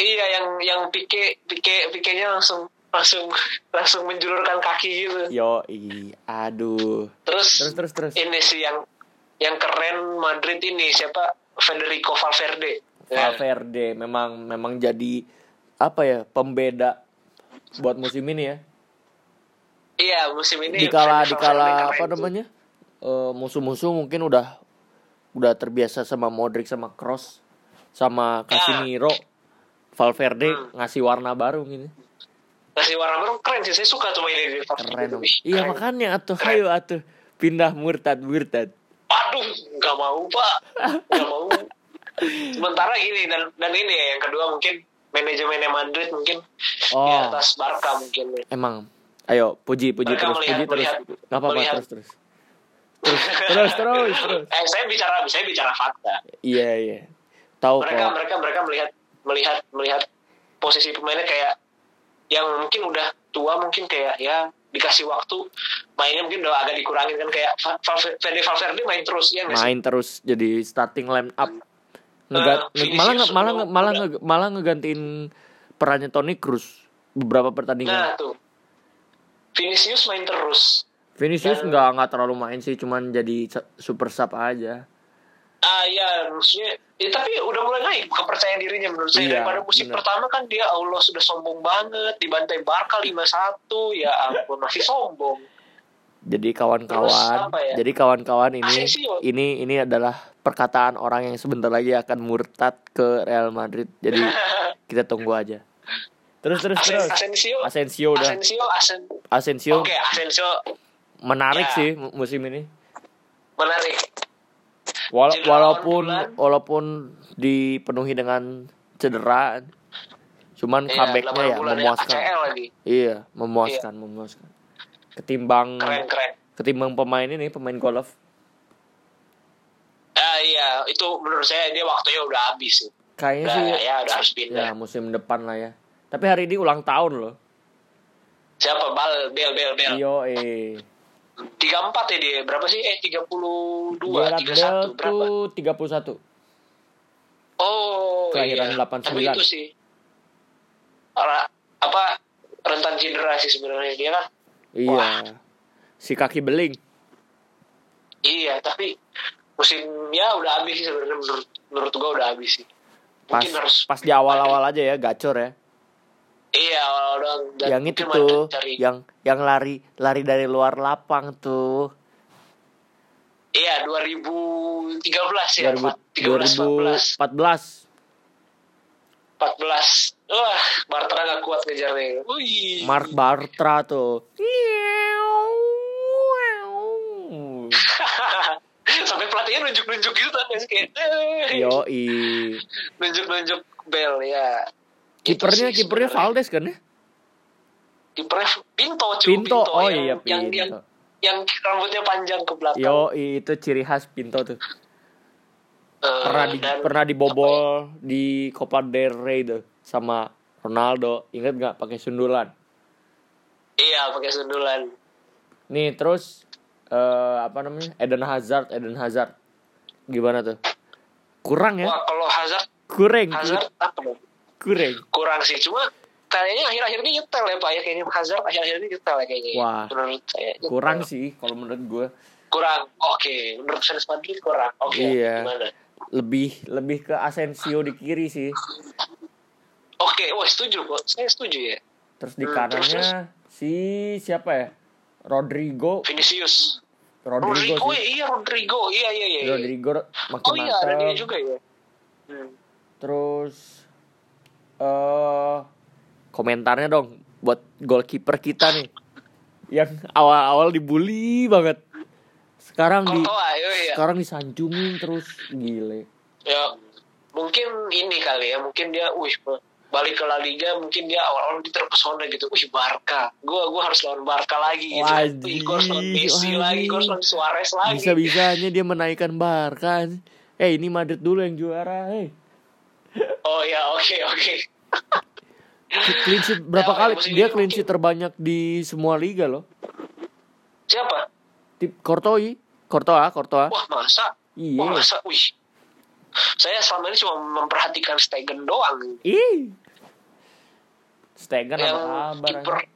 S2: Iya yang yang pike pike pikenya langsung langsung langsung menjulurkan kaki gitu.
S1: Yo, aduh.
S2: Terus,
S1: Terus terus terus.
S2: ini sih yang yang keren Madrid ini siapa Federico Valverde. Ya.
S1: Valverde memang memang jadi apa ya pembeda buat musim ini ya
S2: Iya musim ini.
S1: dikala
S2: Federico Valverde
S1: dikala
S2: keren
S1: apa
S2: tuh.
S1: namanya eh, musuh-musuh mungkin udah udah terbiasa sama Modric sama Cross sama
S2: Ya.
S1: Casemiro Valverde
S2: Hmm.
S1: ngasih warna baru gini
S2: Kasih warna baru keren sih saya suka tuh mainnya di Valverde.
S1: keren
S2: Ih,
S1: iya
S2: keren.
S1: makanya atuh
S2: Keren.
S1: ayo atuh pindah murtad murtad
S2: Aduh nggak mau pak nggak mau. Sementara gini dan dan ini ya yang kedua mungkin manajemennya Madrid mungkin di
S1: Oh.
S2: atas Barca mungkin.
S1: emang ayo puji puji
S2: Mereka
S1: terus
S2: melihat,
S1: puji terus
S2: melihat,
S1: nggak apa-apa
S2: melihat.
S1: terus terus terus terus terus terus
S2: Eh, saya bicara saya bicara fakta.
S1: iya iya tahu
S2: mereka
S1: kok
S2: mereka mereka melihat melihat melihat posisi pemainnya kayak yang mungkin udah tua mungkin kayak ya dikasih waktu mainnya mungkin udah agak dikurangin kan kayak Fa- Fa- Fede Valverde main terus ya nggak sih? Eh,
S1: main terus jadi starting line up Ngegat,
S2: Vinicius
S1: malah nge- malah
S2: sebelum-
S1: nge- malah nge- malah ngegantiin perannya Toni Cruz beberapa pertandingan
S2: nah tuh Vinicius main terus
S1: Vinicius
S2: Dan-
S1: nggak nggak terlalu main sih cuman jadi sa- super sub aja
S2: ah ya maksudnya ya, tapi udah mulai naik kepercayaan dirinya menurut saya
S1: Iya,
S2: daripada musim
S1: bener.
S2: pertama kan dia Allah sudah sombong banget dibantai Barca 5-1 ya ampun masih sombong
S1: jadi
S2: Terus
S1: kawan-kawan
S2: apa ya?
S1: jadi kawan-kawan ini
S2: Asensio.
S1: ini ini adalah perkataan orang yang sebentar lagi akan murtad ke Real Madrid jadi kita tunggu aja terus terus
S2: Asen-
S1: terus
S2: Asensio
S1: Asensio udah
S2: Asensio Asen
S1: Asensio
S2: Oke Asensio
S1: menarik
S2: Ya.
S1: sih mu- musim ini
S2: menarik
S1: Wala-
S2: Cedera
S1: walaupun
S2: lawan bulan.
S1: walaupun dipenuhi dengan cedera, cuman
S2: Iya,
S1: comebacknya
S2: 8
S1: ya
S2: bulan
S1: memuaskan.
S2: ACL lagi
S1: Iya, memuaskan, memuaskan. Ketimbang
S2: keren keren
S1: ketimbang pemain ini pemain golf
S2: ah iya itu menurut saya dia waktunya udah habis sih.
S1: kayaknya
S2: udah
S1: Iya sih
S2: ya, udah harus
S1: ya
S2: pindah
S1: musim depan lah ya. Tapi hari ini ulang tahun loh.
S2: siapa bal bel bel bel
S1: Iyo eh.
S2: tiga empat ya dia berapa sih eh tiga puluh dua
S1: Gerard
S2: tiga
S1: Bell
S2: satu berapa
S1: tuh 31.
S2: oh
S1: Kelahiran 89.
S2: iya. tapi itu sih Ora- apa rentan cedera sih sebenarnya dia kan
S1: Iya. Si kaki beling.
S2: Iya, tapi musimnya udah habis sih sebenarnya menurut menurut gua udah habis sih.
S1: Pas
S2: Mungkin harus
S1: pas di awal-awal aja ya gacor ya.
S2: Iya, awal-awal doang. Dan
S1: yang
S2: mungkin
S1: itu
S2: mereka
S1: tuh,
S2: cari-
S1: yang yang lari lari dari luar lapang tuh.
S2: Iya, 2013 ya.
S1: 2000 2014.
S2: 2013 14. 14. Wah, Bartra gak kuat ngejarnya. Wih.
S1: Mark Bartra tuh.
S2: Sampai pelatihnya nunjuk-nunjuk gitu tadi kayak. eh,
S1: Yoi.
S2: Nunjuk-nunjuk bel ya. Itu
S1: Kipernya
S2: sih
S1: kipernya
S2: sebenarnya.
S1: Valdes kan ya?
S2: Kipernya Pinto, cuy.
S1: Pinto. Oh
S2: yang,
S1: iya,
S2: Yang,
S1: Pinto. Iya,
S2: yang, yang rambutnya panjang ke belakang.
S1: Yoi itu ciri khas Pinto tuh.
S2: Eh,
S1: Pernah di,
S2: dan-
S1: pernah dibobol di Copa del Rey tuh sama Ronaldo. Ingat nggak pakai sundulan?
S2: Iya, pakai sundulan.
S1: Nih terus eh, apa namanya Eden Hazard Eden Hazard gimana tuh kurang ya Iya.
S2: Wah, kalau Hazard,
S1: kurang
S2: Hazard apa dong?
S1: kurang
S2: kurang sih cuma kayaknya akhir-akhir ini nyetel ya pak ya kayaknya Hazard akhir-akhir ini nyetel ya kayaknya
S1: Wah.
S2: menurut saya nyetel.
S1: kurang sih kalau menurut gue
S2: kurang oke menurut fans Madrid kurang oke
S1: Iya.
S2: gimana
S1: lebih lebih ke Asensio di kiri sih
S2: oke wah setuju kok saya setuju ya
S1: terus di
S2: Hmm,
S1: kanannya si siapa ya Rodrigo
S2: Vinicius
S1: Rodrigo
S2: Rodrigo, ya,
S1: sih
S2: iya Rodrigo iya iya iya iya.
S1: Rodrigo makin
S2: oh iya ada dia juga ya hmm.
S1: terus eh komentarnya dong buat goalkeeper kita nih yang awal-awal dibully banget sekarang di
S2: Courtois, iya, iya.
S1: sekarang disanjungin terus gile
S2: ya mungkin ini kali ya mungkin dia wih balik ke La Liga mungkin dia awal-awal dia terpesona gitu wih Barca gua gua harus lawan Barca lagi gitu
S1: Wajib,
S2: Wih, gua harus lawan Messi
S1: wajib.
S2: lagi gua harus lawan Suarez lagi
S1: bisa bisanya dia menaikkan Barca eh ini Madrid dulu yang juara eh
S2: oh ya oke oke
S1: clean sheet berapa
S2: Ya,
S1: kali
S2: musim
S1: dia
S2: ini
S1: clean sheet terbanyak di semua liga loh
S2: siapa
S1: tip Kortoi Kortoa Kortoa
S2: wah masa
S1: Iya.
S2: wah masa wih saya selama ini cuma memperhatikan Stegen doang
S1: ih Stegen
S2: yang
S1: apa kabar
S2: Ya, kiper
S1: anjing?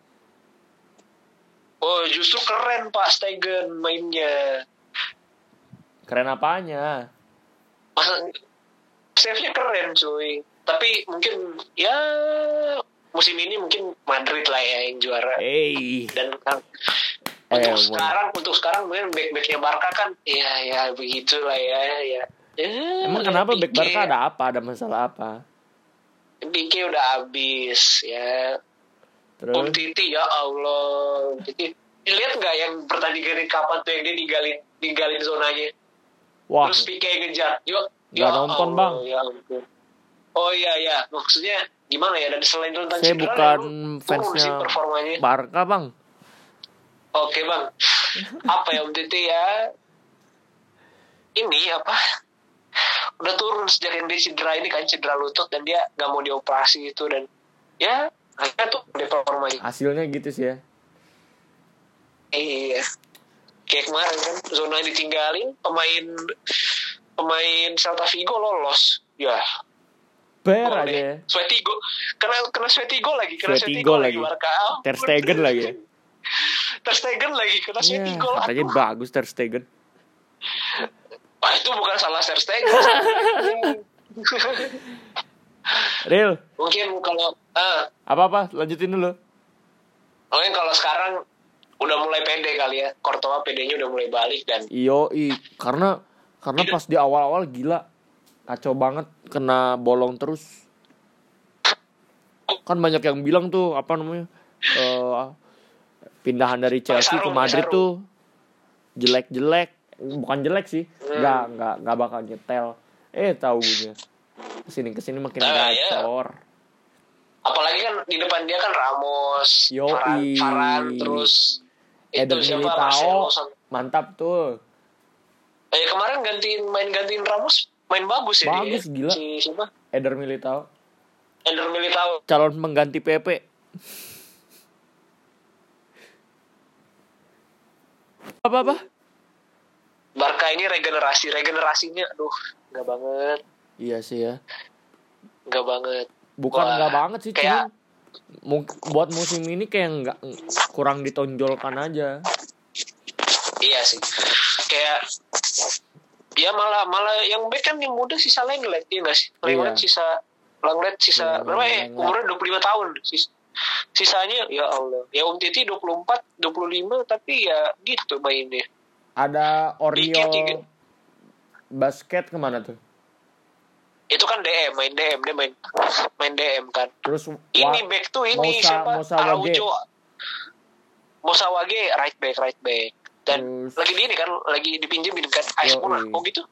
S2: oh justru keren pak Stegen mainnya
S1: keren apanya
S2: masa save-nya keren cuy tapi mungkin ya musim ini mungkin Madrid lah ya yang juara
S1: eh
S2: dan kan,
S1: Eh,
S2: untuk
S1: mon-
S2: sekarang untuk sekarang mungkin back-backnya Barca kan ya ya begitulah ya ya Ya,
S1: Emang kenapa back
S2: Pique-
S1: Barca ada apa? Ada masalah apa?
S2: Pique udah habis ya
S1: Terus
S2: Om Titi ya Allah Titi lihat nggak yang pertandingan yang kapan tuh yang dia ninggalin ninggalin zonanya
S1: wah,
S2: terus Pique yang ngejar yuk
S1: Nggak nonton, Bang.
S2: ya ampun. oh iya iya maksudnya gimana ya dan selain tentang
S1: saya
S2: cedera, ya,
S1: bukan
S2: emang turun sih
S1: fansnya
S2: performanya
S1: Barca, Bang.
S2: oke bang apa ya Om Titi ya ini apa udah turun sejak yang dia cedera ini kan cedera lutut dan dia nggak mau dioperasi itu dan ya akhirnya tuh dia Iya. performanya
S1: Hasilnya gitu sih ya.
S2: Iya. Kayak kemarin kan zona ditinggalin pemain pemain Celta Vigo lolos. Ya.
S1: Ber
S2: boleh.
S1: aja ya.
S2: Swetigo. Kena kena Swetigo lagi, kena
S1: Swetigo
S2: Swetigo,
S1: lagi.
S2: lagi. Barca. Ampun.
S1: Ter Stegen lagi ya.
S2: Ter Stegen lagi kena
S1: Iya,
S2: Swetigo.
S1: katanya
S2: Aduh.
S1: bagus Ter Stegen.
S2: Wah, itu bukan salah Ter Stegen.
S1: Real,
S2: mungkin kalau eh
S1: apa-apa lanjutin dulu.
S2: mungkin kalau sekarang udah mulai pede kali ya. Kortoa pedenya udah mulai balik dan
S1: Iyo, Iya, karena karena
S2: Iya.
S1: pas di awal-awal gila kacau banget kena bolong terus. Kan banyak yang bilang tuh apa namanya? eh, pindahan dari Chelsea ke
S2: sarung,
S1: Madrid
S2: sarung.
S1: tuh jelek-jelek, bukan jelek sih.
S2: Hmm.
S1: nggak nggak nggak bakal nyetel. Eh, tahu gue. Kesini kesini makin
S2: Ah, iya.
S1: gacor.
S2: apalagi kan di depan dia kan Ramos,
S1: Yoi.
S2: Faran, Faran, terus itu
S1: Eder
S2: siapa
S1: Militao
S2: Marcelo. sama-
S1: mantap tuh.
S2: Eh kemarin gantiin main gantiin Ramos main bagus ya
S1: Bagus, gila.
S2: dia. ya. Si siapa?
S1: Eder Militao
S2: Ender Militao.
S1: calon pengganti PP. Apa apa?
S2: Barca ini regenerasi, regenerasinya aduh, nggak banget,
S1: Iya sih ya.
S2: nggak banget.
S1: Bukan
S2: Wah,
S1: nggak banget sih,
S2: kayak-
S1: cuman mung- buat musim ini kayak nggak kurang ditonjolkan aja.
S2: Iya enggak sih kayak ya malah malah yang back kan yang muda sisa Lenglet ya nggak sih
S1: Iya.
S2: Lenglet sisa Lenglet sisa
S1: Iya,
S2: berapa ya
S1: Lenglet.
S2: umurnya 25 tahun sis- sisanya ya Allah ya Um Titi 24 25 tapi ya gitu mainnya
S1: Ada
S2: Dikit, dikit.
S1: Oriol basket kemana tuh?
S2: itu kan DM main DM dia main main DM kan
S1: Terus
S2: ini
S1: Wa-
S2: back tuh ini
S1: Moussa-
S2: siapa
S1: Moussa Wage.
S2: Araujo Musa Wage right back right back dan
S1: Terus-
S2: lagi di ini kan lagi dipinjemin kan Ais
S1: Yoi.
S2: Monaco gitu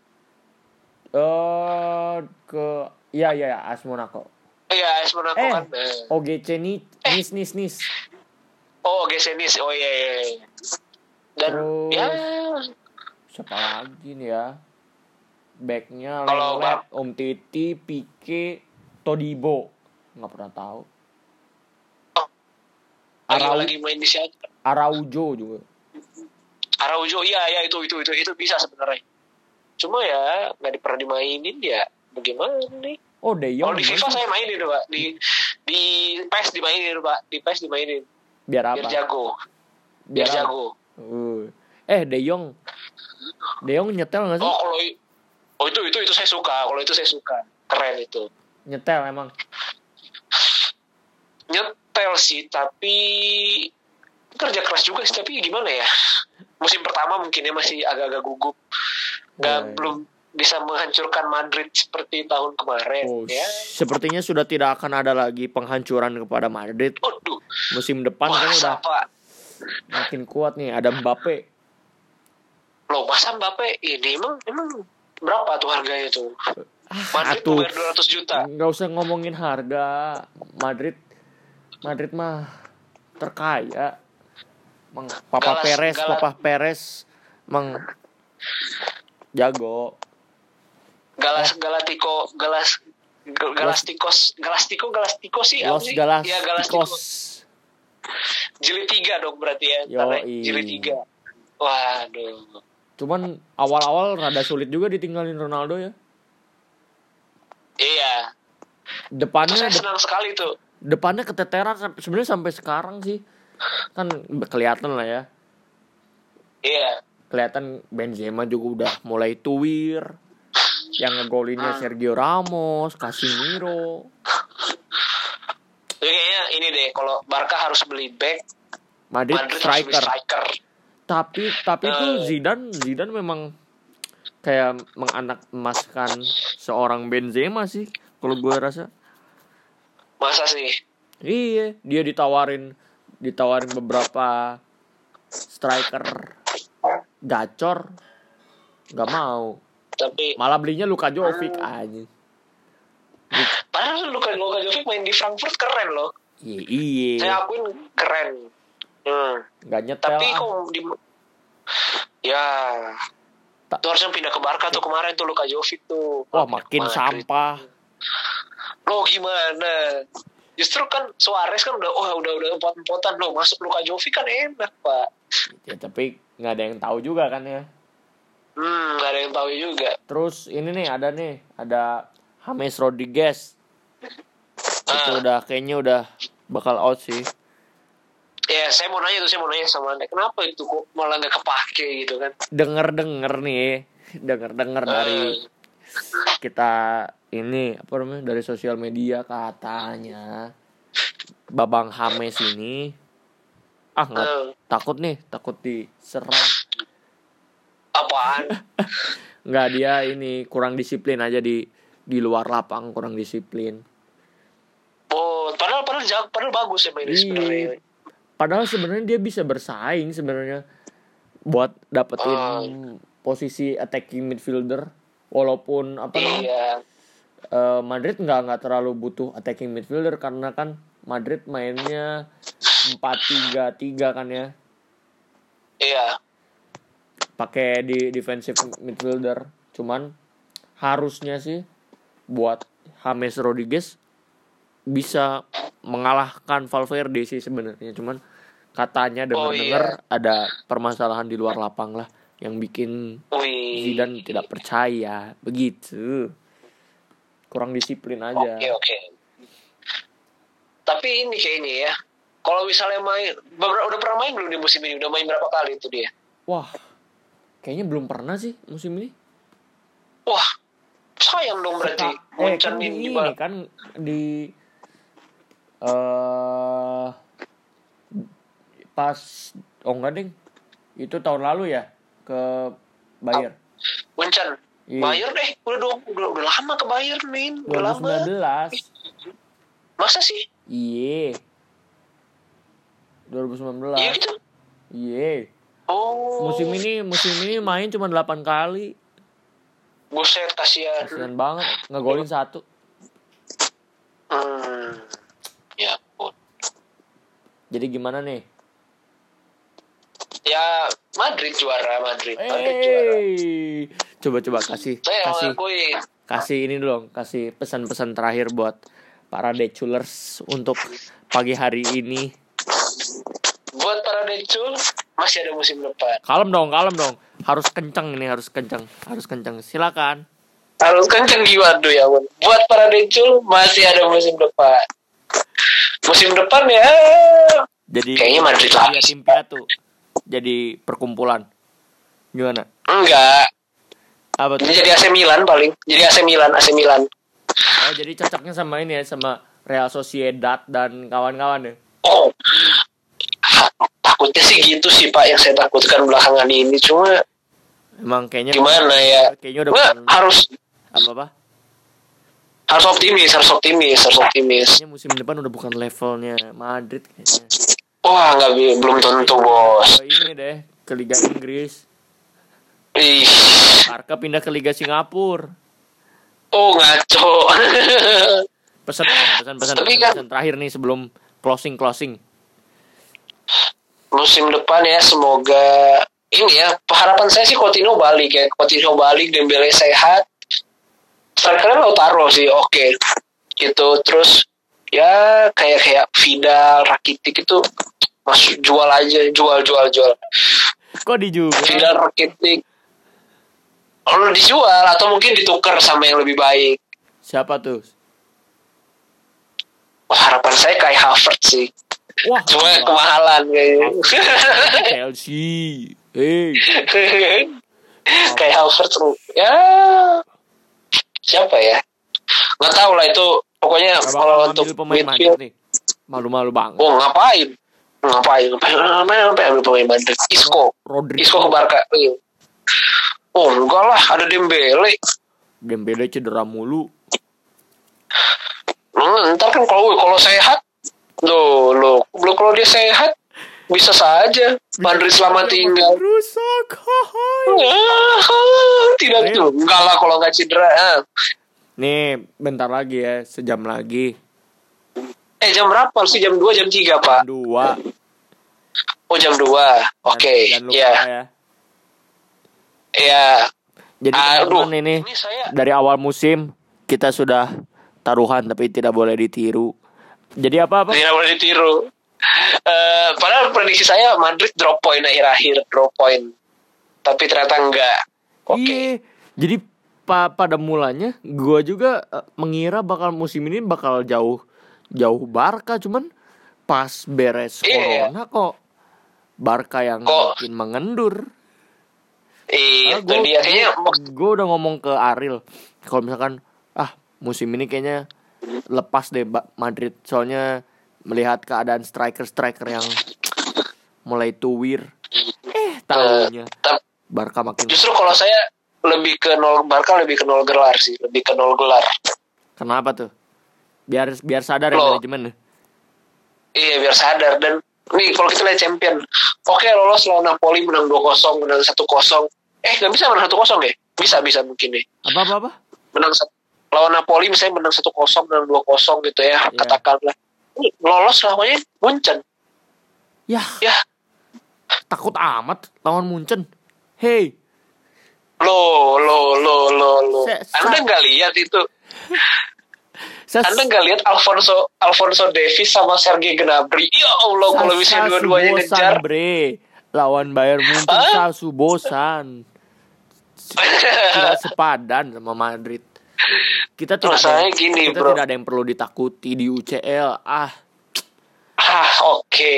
S1: eh ke ya ya ya AS Monaco.
S2: iya Ais Monaco
S1: Eh,
S2: kan eh.
S1: OGC ni, nis nis nis.
S2: Oh, Gesenis. Oh iya iya. iya. Dan
S1: Terus-
S2: ya
S1: Siapa lagi nih ya? Backnya
S2: Kalau
S1: Lenglet, Om Titi, Pike, Todibo. Nggak pernah tahu.
S2: lagi,
S1: Arau-
S2: Oh, lagi main di siapa?
S1: Araujo juga.
S2: Araujo. Iya iya itu itu itu itu bisa sebenarnya. Cuma ya nggak di- pernah dimainin ya. Bagaimana nih?
S1: Oh, De Jong.
S2: Kalau di FIFA saya mainin tuh, Pak. Di di PES dimainin Pak. Di PES dimainin.
S1: biar
S2: Biar
S1: apa?
S2: jago. Biar
S1: apa?
S2: jago.
S1: Uh. Eh, De Jong. De Jong nyetel nggak sih?
S2: Oh kalau i- Oh itu itu itu saya suka. Kalau itu saya suka. Keren itu.
S1: Nyetel emang.
S2: nyetel sih tapi kerja keras juga sih tapi gimana ya musim pertama mungkin ya masih agak-agak gugup nggak
S1: Wah.
S2: belum bisa menghancurkan Madrid seperti tahun kemarin
S1: Oh,
S2: ya
S1: sepertinya sudah tidak akan ada lagi penghancuran kepada Madrid.
S2: Aduh,
S1: Musim depan kan udah
S2: masa Pak?
S1: makin kuat nih. Ada Mbappe.
S2: Loh, masa Mbappe ini emang emang berapa tuh harganya tuh?
S1: Ah,
S2: Madrid
S1: atuh.
S2: bayar 200 juta.
S1: Nggak usah ngomongin harga. Madrid Madrid mah terkaya. Mang Papa
S2: Galas-
S1: Perez,
S2: galas-
S1: Papa Perez mang jago. Eh.
S2: Galas Galatico, Galas Galastikos, Galastiko, Galastiko sih apa
S1: Los
S2: sih?
S1: Galas
S2: Ya, Galastiko.
S1: Tikos.
S2: Jilid 3 dong berarti ya. ntar ya.
S1: Yoi.
S2: Jilid 3. Waduh.
S1: Cuman awal-awal rada sulit juga ditinggalin Ronaldo ya.
S2: Iya. Terus
S1: Depannya
S2: saya
S1: de-
S2: senang sekali tuh.
S1: depannya keteteran sam- sebenarnya sampai sekarang sih. Kan kelihatan lah ya.
S2: Iya.
S1: Kelihatan Benzema juga udah mulai tuwir. Yang
S2: Ah.
S1: ngegolinnya Sergio Ramos, Casemiro.
S2: Jadi kayaknya ini deh, kalau Barca harus beli back,
S1: Madrid,
S2: Madrid harus beli
S1: striker.
S2: striker.
S1: Tapi tapi
S2: Eh.
S1: tuh Zidane Zidane memang kayak menganak emaskan seorang Benzema sih kalau gue rasa.
S2: Masa sih?
S1: Iya, dia ditawarin ditawarin beberapa striker gacor nggak mau
S2: Tapi
S1: malah belinya Luka Jovic
S2: Hmm.
S1: aja
S2: padahal Luka Luka Jovic main di Frankfurt keren loh.
S1: iya iya
S2: Saya akuin keren. Hmm.
S1: nggak nyetel
S2: Ya, Tapi
S1: ah.
S2: kok di Ya,
S1: Ta-
S2: itu harusnya pindah ke Barca tuh kemarin tuh Luka Jovic tuh.
S1: wah makin
S2: Madrid.
S1: sampah
S2: Loh Oh, gimana? Justru kan Suarez kan udah oh, udah udah empot-empotan loh masuk Luka Jovic kan enak, Pak.
S1: ya, tapi nggak ada yang tahu juga kan ya
S2: Hmm, gak ada yang tahu juga.
S1: terus ini nih ada nih ada James Rodriguez itu
S2: Ah.
S1: udah kayaknya udah bakal out sih
S2: Ya, saya mau nanya tuh, saya mau nanya sama Anda, kenapa itu kok malah nggak kepake gitu kan?
S1: denger denger nih denger denger
S2: Ah. Eh,
S1: dari kita ini apa namanya dari sosial media katanya Babang Hames ini ah
S2: Eh,
S1: nggak
S2: eh,
S1: takut nih takut diserang
S2: apaan?
S1: nggak dia ini kurang disiplin aja di di luar lapang kurang disiplin
S2: Oh, padahal padahal jago, padahal bagus ya mainnya
S1: Iya.
S2: sebenarnya.
S1: padahal sebenarnya dia bisa bersaing sebenarnya buat dapetin posisi attacking midfielder walaupun apa namanya
S2: Iya.
S1: eh, Madrid nggak nggak terlalu butuh attacking midfielder karena kan Madrid mainnya 4-3-3 kan ya
S2: Iya.
S1: pakai di defensive midfielder cuman harusnya sih buat James Rodriguez bisa mengalahkan Valverde sih sebenarnya cuman katanya dengar dengar ada permasalahan di luar lapang lah yang bikin
S2: Wih.
S1: Zidane tidak percaya begitu kurang disiplin
S2: Oke,
S1: aja
S2: oke. Tapi ini kayaknya ya. Kalau misalnya main beberapa udah pernah main belum di musim ini? Udah main berapa kali itu dia?
S1: Wah, Kayaknya belum pernah sih musim ini.
S2: Wah, sayang dong berarti.
S1: Seta- eh, kan
S2: Munchen
S1: di
S2: ini
S1: ini
S2: juga.
S1: kan di eh pas oh enggak ding itu tahun lalu ya ke Bayer
S2: Munchen.
S1: Iya.
S2: Bayern eh udah dong udah, udah lama ke Bayern min udah lama
S1: 2019
S2: masa sih
S1: iye 2019
S2: iya gitu
S1: iye
S2: oh
S1: Nah. musim ini musim ini main cuma 8 kali
S2: buset kasihan
S1: kasian banget ngegolin satu
S2: hmm. ya ampun
S1: jadi gimana nih
S2: ya Madrid juara Madrid Madrid juara ya,
S1: Hey, coba-coba kasih
S2: saya mau
S1: kasih
S2: ngakuin
S1: kasih ini dulu dong, kasih pesan-pesan terakhir buat para deculers untuk pagi hari ini.
S2: buat para decul masih ada musim depan
S1: Kalem dong, kalem dong. Harus kenceng ini, harus kenceng, harus kenceng. Silakan.
S2: harus kenceng jiwa tuh ya Bun. buat para decul masih ada musim depan musim depan ya
S1: Jadi
S2: Kayaknya Madrid
S1: jadi
S2: lapis.
S1: Iya, tim piatu. Jadi perkumpulan. Gimana?
S2: enggak
S1: Apa
S2: ini
S1: tuh?
S2: jadi AC Milan paling jadi AC Milan AC Milan
S1: Oh, jadi cocoknya sama ini ya sama Real Sociedad dan kawan-kawan ya.
S2: Oh, ha- takutnya sih gitu sih Pak yang saya takutkan belakangan ini. Cuma
S1: Emang kayaknya
S2: gimana ya?
S1: Kayaknya udah
S2: Nggak,
S1: bukan-
S2: harus
S1: apa-apa.
S2: harus optimis, harus optimis, harus optimis.
S1: Kayaknya musim depan udah bukan levelnya Madrid kayaknya.
S2: Wah, nggak bi- belum tentu bos.
S1: Ke ini deh, ke Liga Inggris.
S2: Ih,
S1: Barca pindah ke Liga Singapura.
S2: oh ngaco.
S1: Pesan, pesan, pesan,
S2: Tapi
S1: pesan,
S2: kan-
S1: pesan terakhir nih sebelum closing, closing.
S2: Musim depan ya semoga ini ya harapan saya sih Coutinho balik ya. Coutinho balik, Dembele sehat. Strikernya Lautaro sih, oke. Gitu, terus ya kayak kayak Vidal, Rakitic itu masuk jual aja, jual jual jual.
S1: Kok dijual?
S2: Vidal Rakitic lalu dijual atau mungkin ditukar sama yang lebih baik
S1: Siapa tuh?
S2: Wah, harapan saya kayak Havertz sih
S1: Wah,
S2: cuma kemahalan kayaknya
S1: Chelsea. Hey,
S2: Iya, kayak Havertz ya siapa ya nggak tahu lah itu pokoknya
S1: gak bakal
S2: kalau
S1: ambil
S2: untuk
S1: pemain Madrid
S2: midfield
S1: nih. Malu-malu banget.
S2: oh ngapain ngapain ngapain ngapain ngapain ambil pemain Madrid Isco Isco ke
S1: Rodrigo
S2: Barca Iya. oh enggak lah ada Dembele
S1: Dembele cedera mulu.
S2: Hmm, ntar kan kalau kalau sehat, lo lo lo kalau dia sehat bisa saja Madrid selamat
S1: Iya,
S2: tinggal.
S1: Rusak.
S2: Ah, Tidak
S1: Iya.
S2: itu, enggak lah kalau nggak cedera. ah.
S1: Nih, bentar lagi ya, sejam lagi.
S2: Eh jam berapa sih jam 2 jam 3 pak?
S1: Dua.
S2: Oh jam 2 Oke,
S1: Dan- dan lupa
S2: ya
S1: ya.
S2: ya.
S1: Jadi
S2: Ah, Aduh,
S1: teman-teman ini
S2: ini saya
S1: dari awal musim kita sudah taruhan tapi tidak boleh ditiru. Jadi apa apa?
S2: tidak boleh ditiru. Eh, padahal prediksi saya Madrid drop point akhir-akhir drop point, tapi ternyata enggak. Oke.
S1: Iya. Jadi pa- pada mulanya gua juga eh, mengira bakal musim ini bakal jauh jauh Barca cuman pas beres
S2: Iya.
S1: corona kok Barca yang
S2: Kok-
S1: makin mengendur. Ah,
S2: Iya, itu dia kayaknya
S1: gue udah ngomong ke Aril kalau misalkan ah musim ini kayaknya lepas deh Ba- Madrid soalnya melihat keadaan striker striker yang mulai tuwir eh tahunya
S2: Tapi
S1: Barca makin
S2: Justru kalau saya lebih ke nol Barca lebih ke nol gelar sih, lebih ke nol gelar.
S1: kenapa tuh biar biar sadar ya
S2: Loh.
S1: manajemen
S2: Iya biar sadar dan nih kalau kita lihat champion, oke lolos lawan Napoli menang 2-0, menang 1-0. Eh nggak bisa menang 1-0 ya? Bisa bisa mungkin nih.
S1: apa apa apa
S2: Menang sat- lawan Napoli misalnya menang 1-0, menang 2-0 gitu
S1: Iya.
S2: ya, katakanlah. Nih, lolos lawannya Munchen.
S1: ya
S2: Ya,
S1: takut amat lawan Munchen hey
S2: lo lo lo lo lo.
S1: Se-
S2: Anda nggak lihat itu?
S1: saya
S2: Anda nggak lihat Alfonso Alfonso Davis sama Sergei Gnabry? Ya Allah, kalau misalnya dua-duanya ngejar,
S1: bre lawan Bayern Munchen
S2: Hah?
S1: Sasu bosan tidak sepadan sama Madrid. Kita tidak ada
S2: Rasanya
S1: yang-
S2: gini,
S1: kita
S2: bro.
S1: tidak ada yang perlu ditakuti di UCL. Ah,
S2: Hah, oke.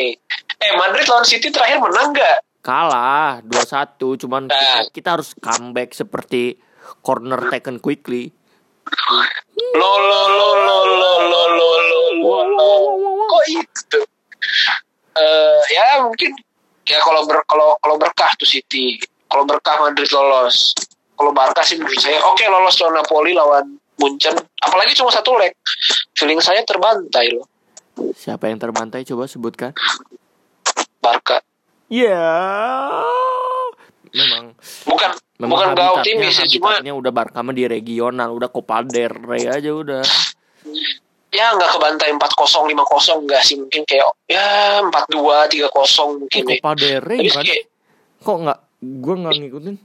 S2: Eh, Madrid lawan City terakhir menang nggak?
S1: kalah 2-1 cuman kita,
S2: Nah.
S1: kita harus comeback seperti corner taken quickly.
S2: Lo lo lo lo lo lo lo lo lo lo. Kok itu? Eh ya mungkin ya kalau ber, kalau kalau berkah tuh City. Kalau berkah Madrid lolos. Kalau Barca sih menurut saya oke lolos lawan Napoli lawan Munchen. Apalagi cuma satu leg. Feeling saya terbantai loh
S1: Siapa yang terbantai coba sebutkan?
S2: Barca.
S1: Ya. Memang
S2: Bukan
S1: memang
S2: bukan gak
S1: habitatnya-
S2: optimis ya cuma
S1: habitatnya udah Barca mah di regional, udah Copa del Rey aja udah.
S2: ya nggak kebantai 4-0 5-0 nggak sih mungkin kayak ya 4-2 3-0 mungkin
S1: Eh,
S2: nih.
S1: Copa del Rey
S2: Tapi
S1: bukan?
S2: kayak-
S1: Kok nggak gua nggak ngikutin?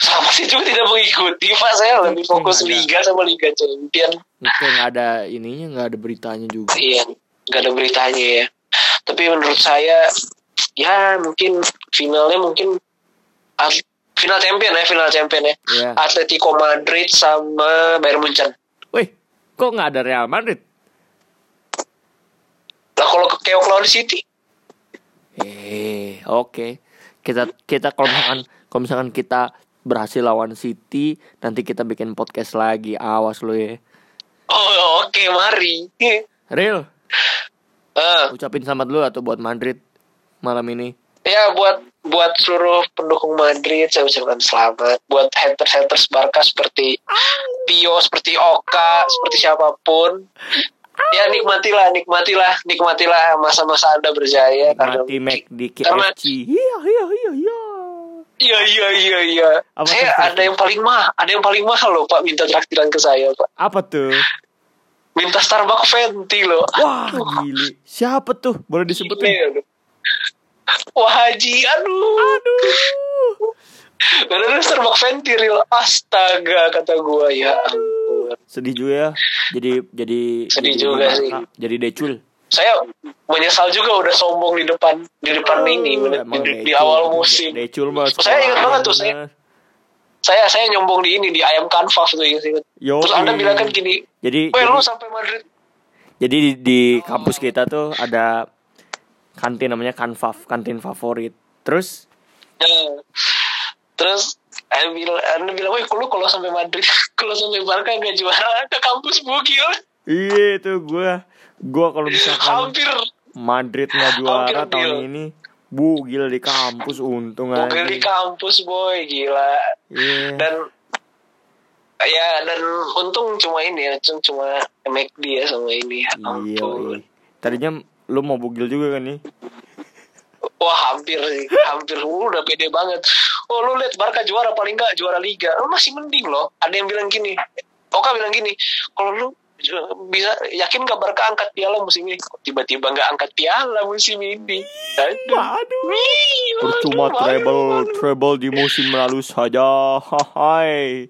S2: sama sih cuma tidak mengikuti pak saya lebih fokus
S1: Enggak ada.
S2: liga sama liga champion
S1: Kayak nggak ada ininya, nggak ada beritanya juga.
S2: iya nggak ada beritanya ya tapi menurut saya ya mungkin finalnya mungkin ah, final champion ya final champion ya
S1: Iya.
S2: Atletico Madrid sama Bayern Munchen
S1: Wih, kok nggak ada Real Madrid?
S2: lah kalau ke keok lawan City
S1: Eh, oke. Kita kita kalau misalkan kalau misalkan kita berhasil lawan City, nanti kita bikin podcast lagi. Awas lu ya.
S2: oh oke mari Eh,
S1: Real,
S2: eh,
S1: ucapin selamat dulu atau buat Madrid malam ini.
S2: ya buat buat seluruh pendukung Madrid saya ucapkan selamat buat haters haters Barca seperti Pio seperti Oka seperti siapapun ya nikmatilah nikmatilah nikmatilah masa-masa anda berjaya karena
S1: Mati Mac di
S2: karena-
S1: KFC. Iya, iya, iya, iya.
S2: iya iya iya iya
S1: Apa
S2: saya
S1: tuh?
S2: ada yang paling mahal ada yang paling mahal loh pak minta traktiran ke saya pak
S1: Apa tuh?
S2: minta Starbucks venti loh
S1: Wah, gili. Siapa tuh? Boleh disebutin?
S2: Gile, loh. Wah Haji, aduh,
S1: Aduh.
S2: aduh. Starbucks venti real astaga kata gua ya ampun.
S1: Sedih juga ya. Jadi jadi jadi
S2: Sedih juga sih.
S1: Jadi decul.
S2: saya menyesal juga udah sombong di depan di depan ini
S1: Oh,
S2: di,
S1: Emang
S2: di- di
S1: decul.
S2: awal musim
S1: Decul mah.
S2: Saya ingat banget tuh, saya- saya saya nyombong di ini di ayam kanvas tuh ingat ingat
S1: Yoi. Iya.
S2: terus anda bilang kan gini
S1: Jadi
S2: weh
S1: jadi-
S2: lu sampai Madrid
S1: Jadi di, di kampus kita tuh ada kantin namanya Kanfav, kantin favorit. Terus
S2: Ya. terus anda bilang anda bilang weh lu kalau sampai Madrid kalau sampai Barca nggak juara ke kampus bugil
S1: iya itu gua gua kalau misalkan
S2: hampir
S1: Madrid nggak juara
S2: Hampir
S1: tahun
S2: deal.
S1: ini bugil di kampus untung aja.
S2: bugil di kampus boy gila
S1: Iya.
S2: dan ya dan untung cuma ini ya cuma cuma McD ya sama ini ya
S1: Iya.
S2: ampun
S1: iya. Tadinya lu mau bugil juga kan nih?
S2: Wah hampir sih, hampir lu udah pede banget. Oh lu lihat Barca juara paling nggak juara liga, lu masih mending loh. Ada yang bilang gini, Oka bilang gini, kalau lu ju- bisa yakin nggak Barca angkat piala musim ini? Kok Tiba-tiba nggak angkat piala musim ini. Aduh.
S1: Aduh.
S2: Wih,
S1: Percuma
S2: waduh,
S1: treble
S2: waduh.
S1: treble di musim lalu saja. Hai.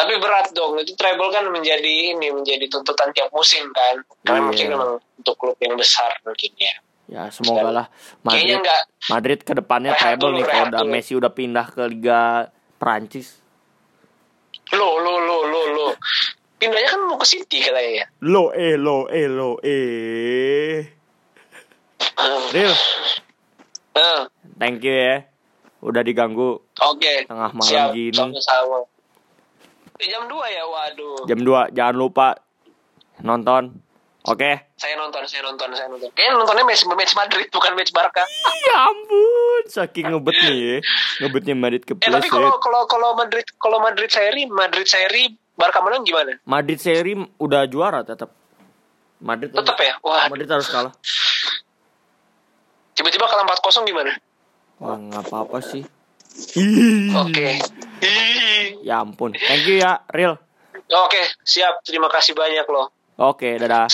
S2: Tapi berat dong, itu treble kan menjadi ini menjadi tuntutan tiap musim kan. Karena
S1: Iya.
S2: mungkin memang untuk klub yang besar mungkin ya.
S1: Ya semoga lah
S2: Kayaknya
S1: Madrid
S2: nggak
S1: Madrid ke depannya
S2: Rehat
S1: treble
S2: dulu,
S1: nih kalau
S2: rehat
S1: udah
S2: dulu.
S1: Messi udah pindah ke Liga Prancis.
S2: lo lo lo lo lo. Pindahnya kan mau ke City katanya. ya.
S1: Lo eh lo eh lo eh. Real,
S2: Eh.
S1: thank you ya. Udah diganggu
S2: Oke.
S1: Tengah malam
S2: Siap,
S1: gini.
S2: Sama-sama. Eh, Jam 2 ya, waduh.
S1: jam 2 jangan lupa nonton. Oke.
S2: Saya nonton, saya nonton, saya nonton. Kayaknya nontonnya match, match Madrid, bukan match Barca.
S1: Ya ampun, saking ngebetnya ya. Ngebetnya Madrid ke
S2: Eh, tapi kalau kalau kalau Madrid kalau Madrid seri, Madrid seri Barca menang gimana?
S1: Madrid seri udah juara tetap. Madrid
S2: Tetap ya? Wah,
S1: Madrid harus kalah.
S2: tiba-tiba kalah 4-0 gimana?
S1: Wah, nggak apa-apa sih. Hmm.
S2: Oke.
S1: Iya.
S2: Ih.
S1: Ya ampun. Thank you ya, Real.
S2: Oke, siap. Terima kasih banyak loh.
S1: Oke, dadah.